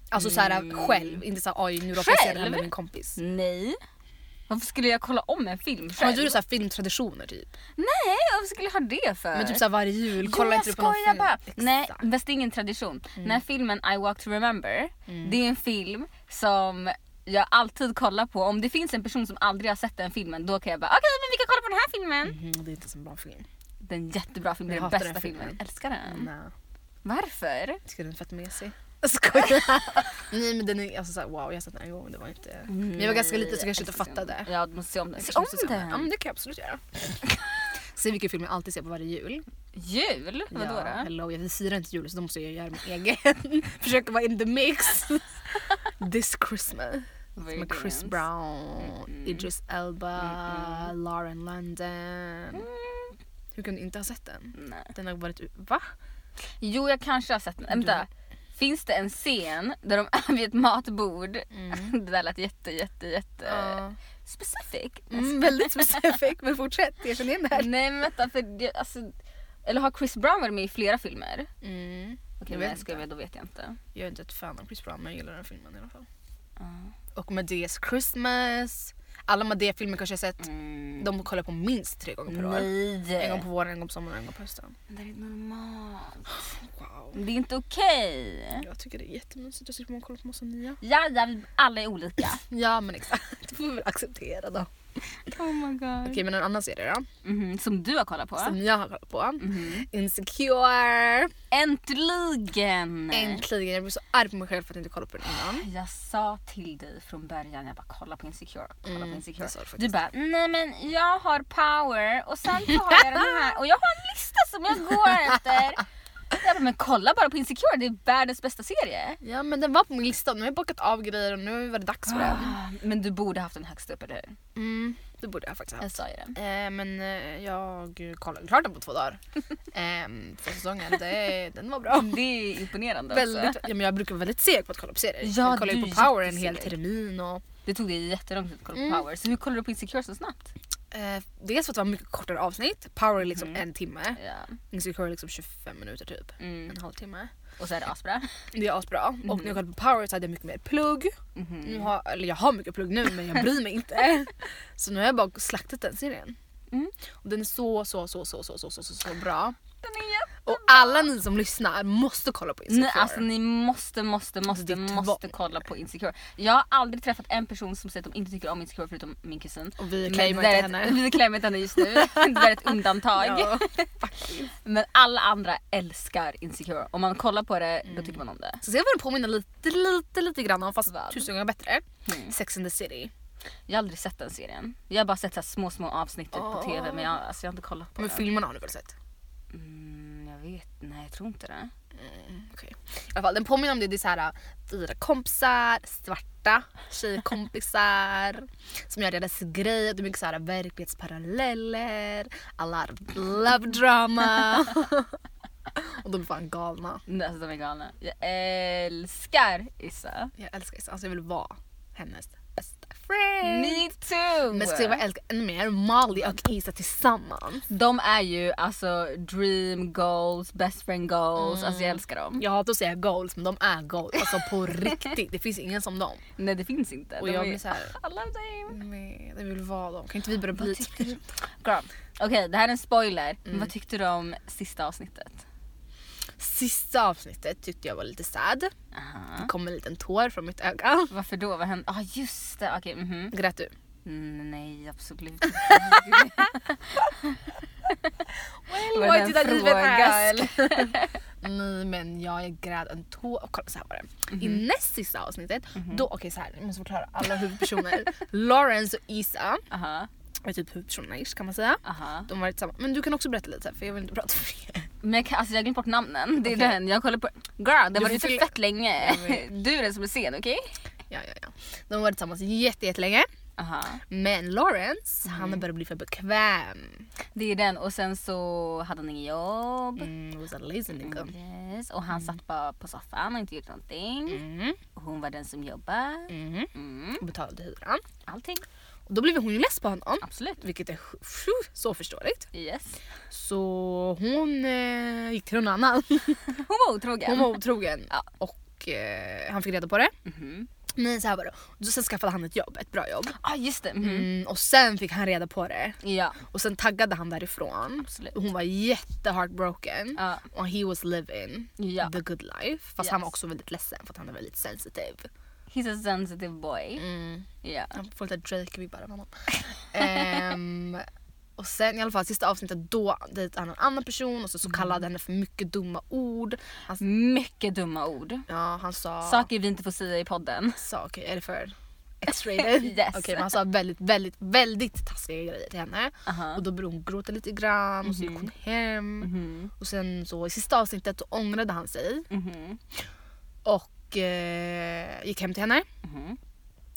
A: Alltså såhär själv, inte såhär oj nu råkar jag se den här
B: Själv?
A: med min kompis.
B: Nej. Varför skulle jag kolla om en film själv?
A: Har du såhär filmtraditioner typ?
B: Nej, varför skulle jag ha det för?
A: Men typ såhär varje jul, kolla
B: jag
A: inte du på någon
B: skojar
A: film?
B: bara.
A: Exakt. Mm.
B: Nej, fast det är ingen tradition. Den här filmen I walk to remember, det är en film som jag alltid kollar på. Om det finns en person som aldrig har sett den filmen då kan jag bara okej men vi kan kolla på den här filmen.
A: Mhm, det är inte så bra film.
B: Det är en jättebra film, det är
A: Jag
B: den
A: hatar
B: bästa
A: den filmen.
B: filmen. Jag älskar den.
A: Nej.
B: Varför?
A: eh, Ska den fett mesig? Jag skojar. Nej men den är alltså såhär wow jag har sett den en gång det var inte... Men Mm. jag var ganska liten så kanske inte fattade.
B: Ja du måste se om den.
A: Jag
B: Se
A: kanske
B: om
A: måste se
B: den!
A: Ja men det kan jag absolut göra. Se vilken film jag alltid ser på varje jul.
B: Jul? Vadå
A: ja,
B: då?
A: Hello, jag firar inte jul så då måste jag göra min egen. Försöka vara in the mix. This Christmas.
B: Very
A: Med Chris
B: Dance.
A: Brown,
B: Mm-mm.
A: Idris Elba, Lauren London. Hur kunde du inte ha sett den?
B: Nej.
A: Den har varit... u- Va?
B: Jo jag kanske har sett den. Vänta. Finns det en scen där de är vid ett matbord, det där lät jätte jätte jätte
A: Mm. Ja.
B: specific. Alltså,
A: Mm, väldigt specifik men fortsätt, jag känner igen det här.
B: Nej men vänta för det, alltså, eller har Chris Brown varit med i flera filmer?
A: Mm.
B: Okej
A: Jag
B: men
A: vet
B: jag ska
A: inte.
B: jag, då vet jag inte.
A: Jag är inte ett fan av Chris Brown men jag gillar den filmen i alla fall. Och Madeas Christmas. Alla Madea-filmer kanske jag sett.
B: Mm.
A: De kollar jag på minst tre gånger per år.
B: Nej!
A: En gång på våren, en gång på sommaren, en gång på hösten.
B: Men Det är normalt.
A: Wow.
B: Men Det är inte okej.
A: Jag tycker det är jättemysigt att slippa man kolla på massa nya.
B: Ja, ja, vi alla är olika.
A: Ja men exakt, det får vi väl acceptera då.
B: oh my god.
A: Okej men en annan serie då.
B: Mhm, som du har kollat på.
A: Som jag har kollat på.
B: Mhm.
A: Insecure!
B: Äntligen!
A: Äntligen, jag blev så arg på mig själv för att jag inte kollade på den innan.
B: Jag sa till dig från början, jag bara kolla på Insecure. Kolla
A: Mm,
B: på
A: det
B: Insecure.
A: sa du faktiskt.
B: Du bara, nej men jag har power och sen så har jag den här och jag har en lista som jag går efter. Jag bara, men kolla bara på Insecure, det är världens bästa serie.
A: Ja men den var på min lista, nu har jag bockat av grejer och nu var det dags för den.
B: Ah, Men du borde haft den högst upp, eller hur?
A: Mm, det borde jag faktiskt ha
B: Jag sa ju det.
A: Eh, men eh, jag kollade klart den på två dagar. Eh, för säsongen, det, den var bra.
B: Det är imponerande
A: Väldigt,
B: alltså.
A: ja, men jag brukar vara väldigt seg på att kolla på serier.
B: Ja,
A: jag kollar ju
B: du
A: på
B: är
A: Power en hel
B: jätteseg.
A: termin. Och,
B: Det tog dig jättelång tid att kolla på
A: Mm.
B: power, så hur kollar du på Insecure så snabbt?
A: eh, dels för att det var mycket kortare avsnitt. Power är liksom en timme.
B: Ja.
A: Insecure är liksom 25 minuter typ.
B: Mm.
A: En halvtimme.
B: Och så är det asbra.
A: Det är asbra. Och när jag kollade på Power så hade jag mycket mer plugg.
B: Mhm.
A: Nu har, eller jag har mycket plugg nu men jag bryr mig inte. Så nu har jag bara slaktat den serien.
B: Mm.
A: Och den är så, så, så, så, så, så, så, så, så bra.
B: Den är jätte-
A: Och alla ni som lyssnar måste kolla på Insecure.
B: Nej, alltså ni måste, måste,
A: Det
B: måste,
A: är tvång.
B: måste kolla på Insecure. Jag har aldrig träffat en person som säger att de inte tycker om Insecure förutom min kusin.
A: och vi
B: Men
A: claimar
B: det
A: inte
B: där är
A: henne.
B: ett- Vi claimar inte henne just nu. Det där är ett undantag.
A: Ja, faktiskt.
B: Men alla andra älskar Insecure. Om man kollar på det,
A: Mm.
B: då tycker man om det.
A: Så ser jag vad den påminner lite, lite, lite grann om fast
B: Vad?
A: tusen gånger bättre.
B: Mm.
A: Sex and the City.
B: Jag har aldrig sett den serien. Jag har bara sett så här små, små avsnitt typ,
A: Åh.
B: på tv men jag, alltså, jag har inte kollat på
A: Men
B: den.
A: filmerna har ni väl sett?
B: Mm, jag vet, nej jag tror inte det.
A: Okej. I alla fall, den påminner om det. Det är så här dyra kompisar, svarta tjejkompisar som gör deras grej. Det är mycket så här verklighetsparalleller, alla love drama. Och de är fan galna.
B: Nej, Alltså de är galna. Jag älskar Issa.
A: Jag älskar Issa. Alltså jag vill vara hennes bästa friend.
B: Me too!
A: Men ska jag vara älskar ännu mer? Molly och Isa tillsammans.
B: De är ju alltså dream goals, best friend goals, alltså
A: Mm.
B: jag älskar dem.
A: Jag hatar att säga goals men de är goals. Alltså på riktigt. Det finns ingen som dem.
B: Nej det finns inte.
A: Och
B: de
A: jag
B: är...
A: blir så här-
B: I love them.
A: Nej, jag vill vara dem. Kan inte vi börja bli
B: Vad tyckte du? Girl. Okej det här är en spoiler,
A: Mm.
B: men vad tyckte du om sista avsnittet?
A: Sista avsnittet tyckte jag var lite sad.
B: Aha.
A: Det kom en liten tår från mitt öga.
B: Varför då? Vad hände? Ja ah, just det, okej. mhm.
A: Grät du?
B: Mm, nej absolut inte.
A: Well,
B: Var det en fråga, eller?
A: Nej men jag, jag grät en tår. Och kolla så här var det. I näst sista avsnittet, då, okej så här, jag måste förklara alla huvudpersoner. Lawrence och Isa
B: Aha,
A: är typ huvudpersonerna ish kan man säga.
B: aha.
A: De var tillsammans. Men du kan också berätta lite för jag vill inte prata för mycket.
B: Men jag, kan, alltså, jag har glömt bort namnen. Det är
A: Okej.
B: den. Jag kollar på... Girl, den
A: Du
B: var
A: får
B: ute
A: fylla-
B: fett länge.
A: Jag vet.
B: Du är den som är sen, okej?
A: Ja, ja, ja. De var tillsammans jätte, jättelänge.
B: Aha.
A: Men Lawrence, han började bli för bekväm.
B: Det är den och sen så hade han inget jobb.
A: Mm, was a lazy nigga.
B: Yes. Och han satt bara på soffan och inte gjorde någonting.
A: Mm,
B: Och hon var den som jobbade.
A: mm.
B: Mm.
A: Och betalade hyran.
B: Allting.
A: Och då blev hon ju less på honom.
B: Absolut.
A: Vilket är sj- sj- så förståeligt.
B: Yes.
A: Så hon eh, gick till någon annan.
B: Hon var otrogen.
A: Hon var otrogen.
B: Ja.
A: Och eh, han fick reda på det.
B: Mhm.
A: Men så här var det. Och Sen skaffade han ett jobb, ett bra jobb.
B: ah, just det. Mhm.
A: Mm, och sen fick han reda på det.
B: Ja.
A: Och sen taggade han därifrån.
B: Absolut.
A: Och hon var jätte heartbroken.
B: Ja.
A: Och he was living
B: Ja.
A: the good life. Fast
B: Yes.
A: han var också väldigt ledsen för att han är väldigt sensitive.
B: He's a sensitive boy.
A: Mm.
B: Ja.
A: Han får lite Drake-vibbar av honom. Ehm, och sen i alla fall sista avsnittet då dejtade han en annan person och så,
B: Mm.
A: så kallade han henne för mycket dumma ord. Han,
B: Mycket dumma ord.
A: ja, han sa...
B: Saker vi inte får säga i podden.
A: sa okej, är det för X-rated?
B: Yes.
A: Okej, men han sa väldigt, väldigt, väldigt taskiga grejer till henne.
B: Aha.
A: Och då började hon gråta lite grann och så
B: Mm-hmm.
A: gick hon hem.
B: Mhm.
A: Och sen så i sista avsnittet så ångrade han sig
B: Mhm.
A: och eh, gick hem till henne.
B: Mhm.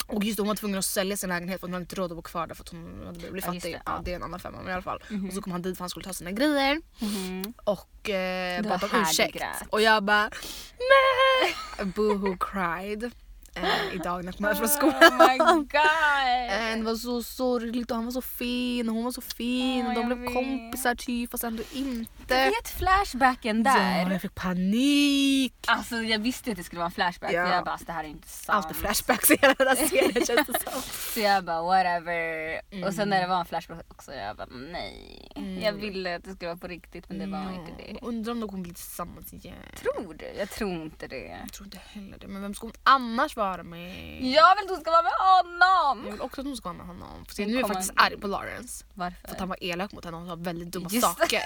A: Och just då, hon var tvungen att sälja sin lägenhet för hon hade inte råd att bo kvar där för att hon hade blivit
B: Ja, just
A: fattig.
B: det,
A: ja.
B: ja.
A: det är en annan femma men i alla fall. Och så kom han dit för han skulle ta sina grejer
B: Mhm.
A: och eh,
B: Det
A: bad
B: var
A: om
B: här du
A: ursäkt.
B: grät.
A: Och jag bara nej! Boohoo cried eh, idag när jag kom hem från skolan.
B: Oh my
A: Eh, Det
B: god.
A: var så sorgligt och han var så fin och hon var så fin och
B: Åh,
A: de
B: jag
A: blev
B: vet.
A: kompisar typ fast ändå
B: Jag
A: inte.
B: vet flashbacken
A: Ja,
B: där.
A: jag fick panik!
B: Alltså jag visste ju att det skulle vara en flashback.
A: Ja.
B: Så jag bara alltså, det här är ju inte sant.
A: Alltid flashbacks i hela den här serien känns det som.
B: Så jag bara whatever. Och sen
A: Mm.
B: när det var en flashback också jag bara nej. Jag ville att det skulle vara på riktigt men det var inte det.
A: Ja, Undrar om de kommer bli tillsammans igen.
B: Tror du? Jag tror inte det.
A: Jag tror inte heller det. Men vem ska hon annars vara med?
B: Jag vill att hon ska vara med
A: Jag
B: honom!
A: vill också att hon ska vara med honom. För se,
B: Hon
A: nu är jag
B: kommer-
A: faktiskt arg på Lawrence. För
B: Varför?
A: att han var elak mot henne och sa väldigt dumma
B: Just det.
A: saker.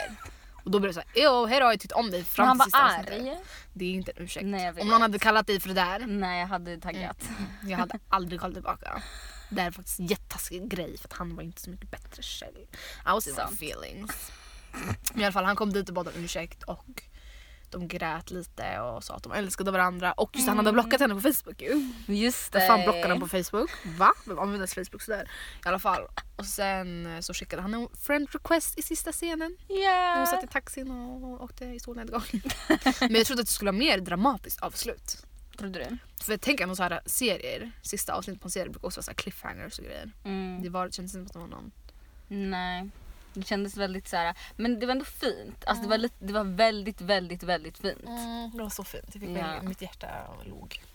A: Och då blev det såhär, jo här har jag tyckt om dig
B: Men
A: fram
B: han
A: till
B: var
A: sista avsnittet.
B: arg.
A: Det är inte en ursäkt.
B: Nej, jag vet.
A: om någon hade kallat dig för det där,
B: Nej jag hade taggat.
A: Jag hade aldrig kollat tillbaka. Det här är faktiskt en jättetaskig grej för att han var inte så mycket bättre själv. I was in my
B: Sant.
A: feelings. Men i alla fall han kom dit och bad om ursäkt och de grät lite och sa att de älskade varandra och just det, han hade blockat henne på Facebook ju.
B: Just det.
A: Vem fan blockade han på Facebook? Va? Vem använder ens Facebook sådär? I alla fall. Och sen eh, så skickade han en friend request i sista scenen.
B: Yeah.
A: Hon satt i taxin och åkte i solnedgång. Men jag trodde att det skulle vara mer dramatiskt avslut.
B: Trodde du?
A: För jag tänker att så här serier, sista avsnittet på en serie brukar också vara så här cliffhangers och grejer.
B: Mm.
A: Det, var, det kändes inte som att det var någon...
B: Nej. Det kändes väldigt så här, men det var ändå fint. Alltså, det, var lite, det var väldigt, väldigt, väldigt fint.
A: Mm, Det var så fint. Jag
B: fick verkligen-
A: Mitt hjärta låg.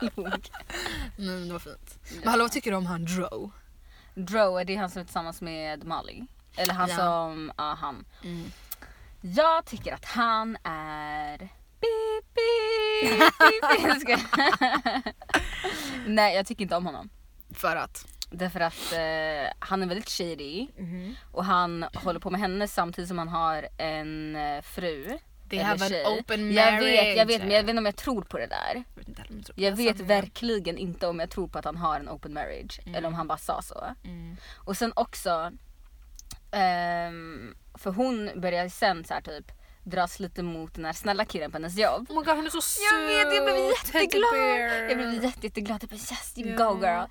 B: Nog.
A: Men det var fint. Men hallå vad tycker du om han Dro?
B: Dro, är det han som är tillsammans med Molly? Eller han
A: Ja.
B: som, ja han.
A: Mm.
B: Jag tycker att han är... Beep, beep, beep, beep. Jag skojar. Nej jag tycker inte om honom.
A: För att?
B: Därför att eh, han är väldigt shady
A: Mm-hmm.
B: och han håller på med henne samtidigt som han har en eh, fru.
A: They
B: eller
A: have an
B: tjej.
A: open
B: Jag vet, jag
A: marriage.
B: vet men jag vet inte om jag tror på det där.
A: Jag vet inte heller om jag tror på
B: Jag
A: det.
B: vet
A: Sanningen.
B: verkligen inte om jag tror på att han har en open marriage eller om han bara sa så.
A: Mm.
B: Och sen också, ehm, för hon börjar sen så här typ dras lite mot den här snälla killen på hennes jobb.
A: Oh my god han är så söt!
B: Jag vet, jag blev
A: Teddy bear.
B: jätteglad! Jag blev jätte, jätteglad, typ yes you
A: Ja.
B: go girl.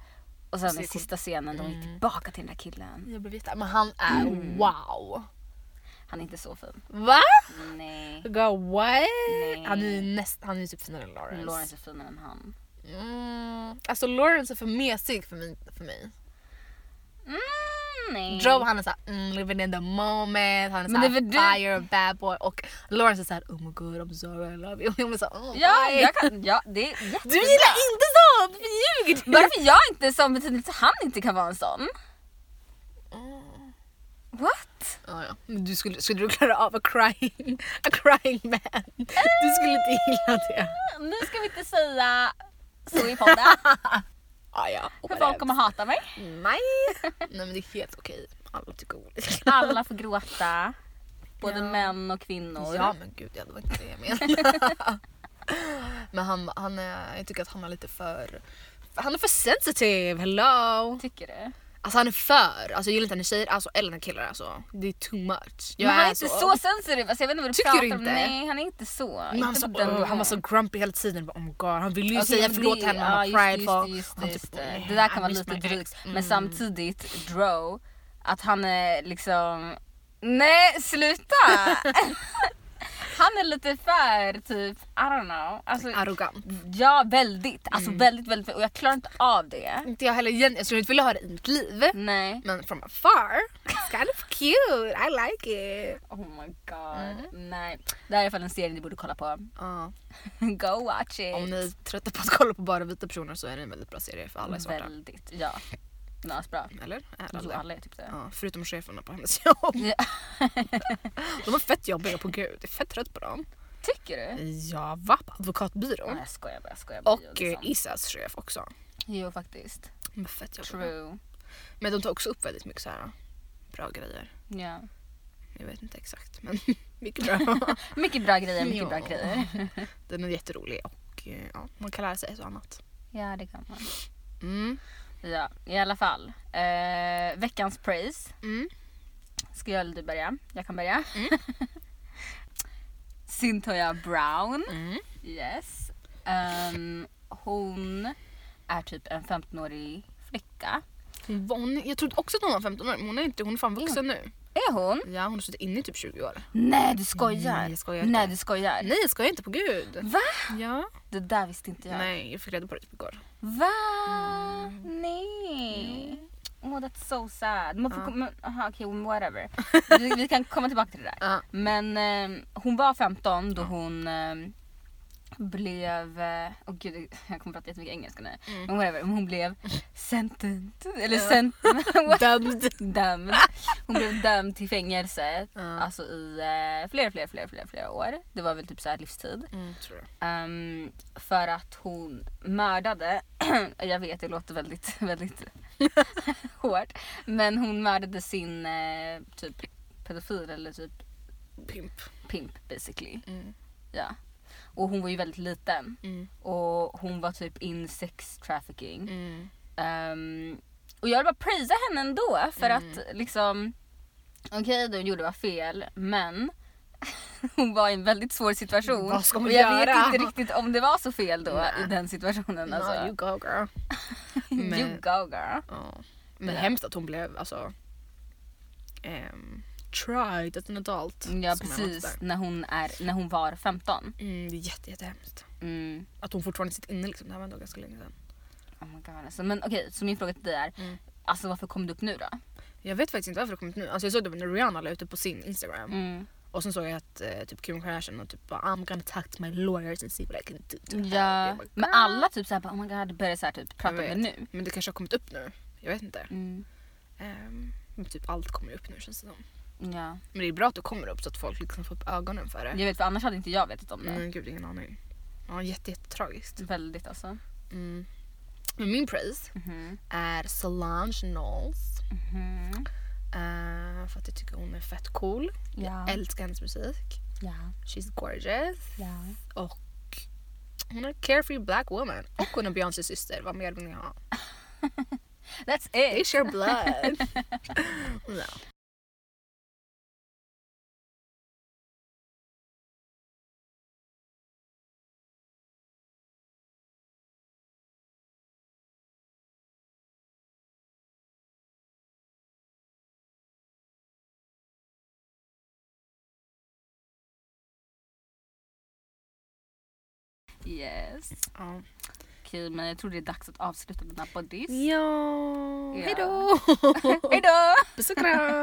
B: Och sen
A: Så
B: den
A: kom- Mm.
B: sista scenen då hon gick tillbaka till den där killen.
A: Jag blev jätte... Men han är wow!
B: Han är inte så fin.
A: Va?
B: Nej.
A: God, what?
B: Nej.
A: Han är ju näst, han är ju typ finare än Lawrence.
B: Lawrence är finare än han.
A: Mm. Alltså Lawrence är för mesig för mig. För mig.
B: Mm, nej.
A: Joe han är såhär mm, living in the moment, han är
B: Men
A: såhär
B: det är för du-
A: fire, bad boy och Lawrence är såhär oh my god I'm sorry I love you. Jag blir såhär, oh,
B: Ja,
A: why?
B: jag kan, ja, det är jättebra.
A: Du gillar inte sånt! Varför ljuger du?
B: Varför jag inte är sån betyder inte att han inte kan vara en sån.
A: Mm.
B: What?
A: Ja, ja. Men du skulle, skulle du klara av a crying, a crying man? Du skulle inte gilla det.
B: Nu ska vi inte säga så i podden.
A: Ja, ja.
B: För folk kommer hata mig.
A: Nej. Nej men det är helt okej. Alla tycker olika.
B: Alla får gråta. Både
A: Ja.
B: män och kvinnor.
A: Ja men gud ja, det var inte det jag menade. men han, eh, han är, jag tycker att han är lite för... Han är för sensitive, hello!
B: Tycker du?
A: Alltså han är för, alltså jag gillar inte när tjejer alltså, eller när killar alltså. Det är too much. Jag
B: men han är
A: är
B: inte så sensitive. Alltså jag vet inte vad du
A: Tycker
B: pratar
A: du
B: om.
A: inte?
B: Nej han är inte så.
A: Men han,
B: inte
A: så,
B: på den
A: "Åh", han
B: nivån.
A: var så grumpy hela tiden. Bara, oh my God. Han ville ju
B: Alltså,
A: säga
B: men
A: förlåt
B: det-
A: henne men
B: ja,
A: han
B: just det,
A: var
B: just det,
A: prideful.
B: just det,
A: Han typ,
B: just det.
A: "Eh,
B: Det där kan
A: I
B: vara
A: miss
B: lite
A: my ex."
B: drygt. Men
A: Mm.
B: samtidigt Dro, att han är liksom... Nej sluta! han är lite för typ, I don't know. Alltså,
A: Arrogant.
B: ja väldigt, alltså
A: Mm.
B: väldigt väldigt och jag klarar inte av det.
A: Inte jag heller igen. Jag skulle inte vilja ha det i mitt liv.
B: Nej.
A: Men from afar, it's kind of cute. I like it.
B: Oh my god. Mm. Nej. Det här är i alla fall en serie ni borde kolla på.
A: Ja.
B: Go watch it.
A: Om ni är trötta på att kolla på bara vita personer så är det en väldigt bra serie för alla är svarta.
B: Väldigt, ja. alltså, Den är asbra.
A: Eller? Är
B: Jo,
A: Alltså alla.
B: alla är typ det.
A: Ja, förutom cheferna på hennes jobb.
B: Ja.
A: De var fett jobbiga på gud. Jag är fett trött på dem.
B: Tycker du?
A: Ja, va? På
B: Nej
A: advokatbyrån.
B: jag skojar bara, jag skojar bara.
A: Och eh, Isas chef också.
B: Jo faktiskt.
A: De var fett jobbiga.
B: True.
A: Men de tar också upp väldigt mycket så här eh, bra grejer.
B: Ja.
A: Jag vet inte exakt men mycket bra.
B: Mycket bra grejer, mycket
A: Ja.
B: bra grejer.
A: Den är jätterolig och eh, ja, man kan lära sig ett och annat.
B: Ja det kan man.
A: Mm.
B: Ja i alla fall. Eh, veckans praise.
A: Mm.
B: Ska jag eller du börja? Jag kan börja. Cynthia Brown.
A: Mm.
B: Yes. Ehm, hon är typ en 15-årig flicka.
A: Hon var, hon, mm. jag trodde också att hon var 15 år men hon är inte, hon är fan vuxen nu.
B: Är hon?
A: Ja hon har suttit inne i typ 20 år.
B: Nej du skojar.
A: Nej, jag skojar inte.
B: Nej du skojar.
A: Nej jag skojar inte på gud.
B: Va?
A: Ja.
B: Det där visste inte jag.
A: Nej Mm. jag fick reda på det typ igår.
B: Va? Nej. Oh, that's so sad. Man får
A: Ja.
B: komma, aha, okay, whatever. Vi, vi kan komma tillbaka till det där.
A: Ja.
B: Men eh, hon var 15 då hon eh, blev... eh, Åh gud, jag kommer prata jättemycket engelska nu.
A: Mm.
B: Men whatever, hon blev sentenced. Eller
A: Ja.
B: sent-
A: Dömd.
B: dömd. Hon blev dömd till fängelse.
A: Ja.
B: Alltså i eh, flera, flera, flera, flera, flera år. Det var väl typ så här livstid.
A: Mm, tror jag.
B: Ehm, för att hon mördade, jag vet det låter väldigt, väldigt hårt. Men hon mördade sin eh, typ pedofil eller typ
A: Pimp.
B: pimp basically.
A: Mm.
B: Ja. Och hon var ju väldigt liten.
A: Mm.
B: Och hon var typ in sex trafficking.
A: Mm.
B: Ehm, och jag vill bara prisa henne ändå för
A: Mm.
B: att liksom okej det hon gjorde var fel men hon var i en väldigt svår situation.
A: Vad ska man
B: och jag
A: göra?
B: vet inte riktigt om det var så fel då
A: Nej.
B: i den situationen. Alltså.
A: No, you go girl.
B: you,
A: Men-
B: go girl.
A: Ja. Men
B: Ja.
A: hemskt att hon blev alltså ehm, Mm, tried as an adult.
B: Ja
A: som jag måste
B: precis
A: säga.
B: när hon, är, när hon var 15.
A: Mm, det är jätte, jättehemskt.
B: Mm.
A: Att hon fortfarande sitter inne liksom. Det här var ändå ganska länge sedan.
B: Oh my God, alltså. Men okej så min fråga till dig är
A: Mm.
B: alltså, varför kom du upp nu då?
A: Jag vet faktiskt inte varför det har kommit nu. Alltså jag såg det när Rihanna la ut det på sin Instagram.
B: Mm.
A: Och sen såg jag att eh, typ Kim Kardashian och typ bara I'm gonna talk to my lawyers and see what I can do to help." Jag
B: Ja.
A: bara, "Ah."
B: Men alla typ såhär, oh my god börjar såhär, typ, prata om det
A: vet.
B: nu.
A: Men det kanske har kommit upp nu. Jag vet inte.
B: Mm.
A: Ehm, men typ allt kommer ju upp nu känns det som.
B: Ja.
A: Men det är bra att det kommer upp så att folk liksom får upp ögonen för det.
B: Jag vet för annars hade inte jag vetat om det.
A: Men gud, ingen aning. Ja, jätte, jättetragiskt.
B: Väldigt alltså.
A: Mm. Men min praise
B: Mhm.
A: är Solange Knowles.
B: Mhm.
A: eh, för att jag tycker hon är fett cool.
B: Ja.
A: Älskar hennes musik.
B: ja.
A: She's gorgeous.
B: Ja.
A: Och hon är en carefree black woman. Och hon är Beyoncés syster. Vad mer vill ni ha?
B: That's it.
A: It's your blood. ja.
B: Yes.
A: Ja.
B: Okej men jag tror det är dags att avsluta den här poddis.
A: ja.
B: Ja.
A: Hejdå!
B: Hejdå!
A: Puss och kram!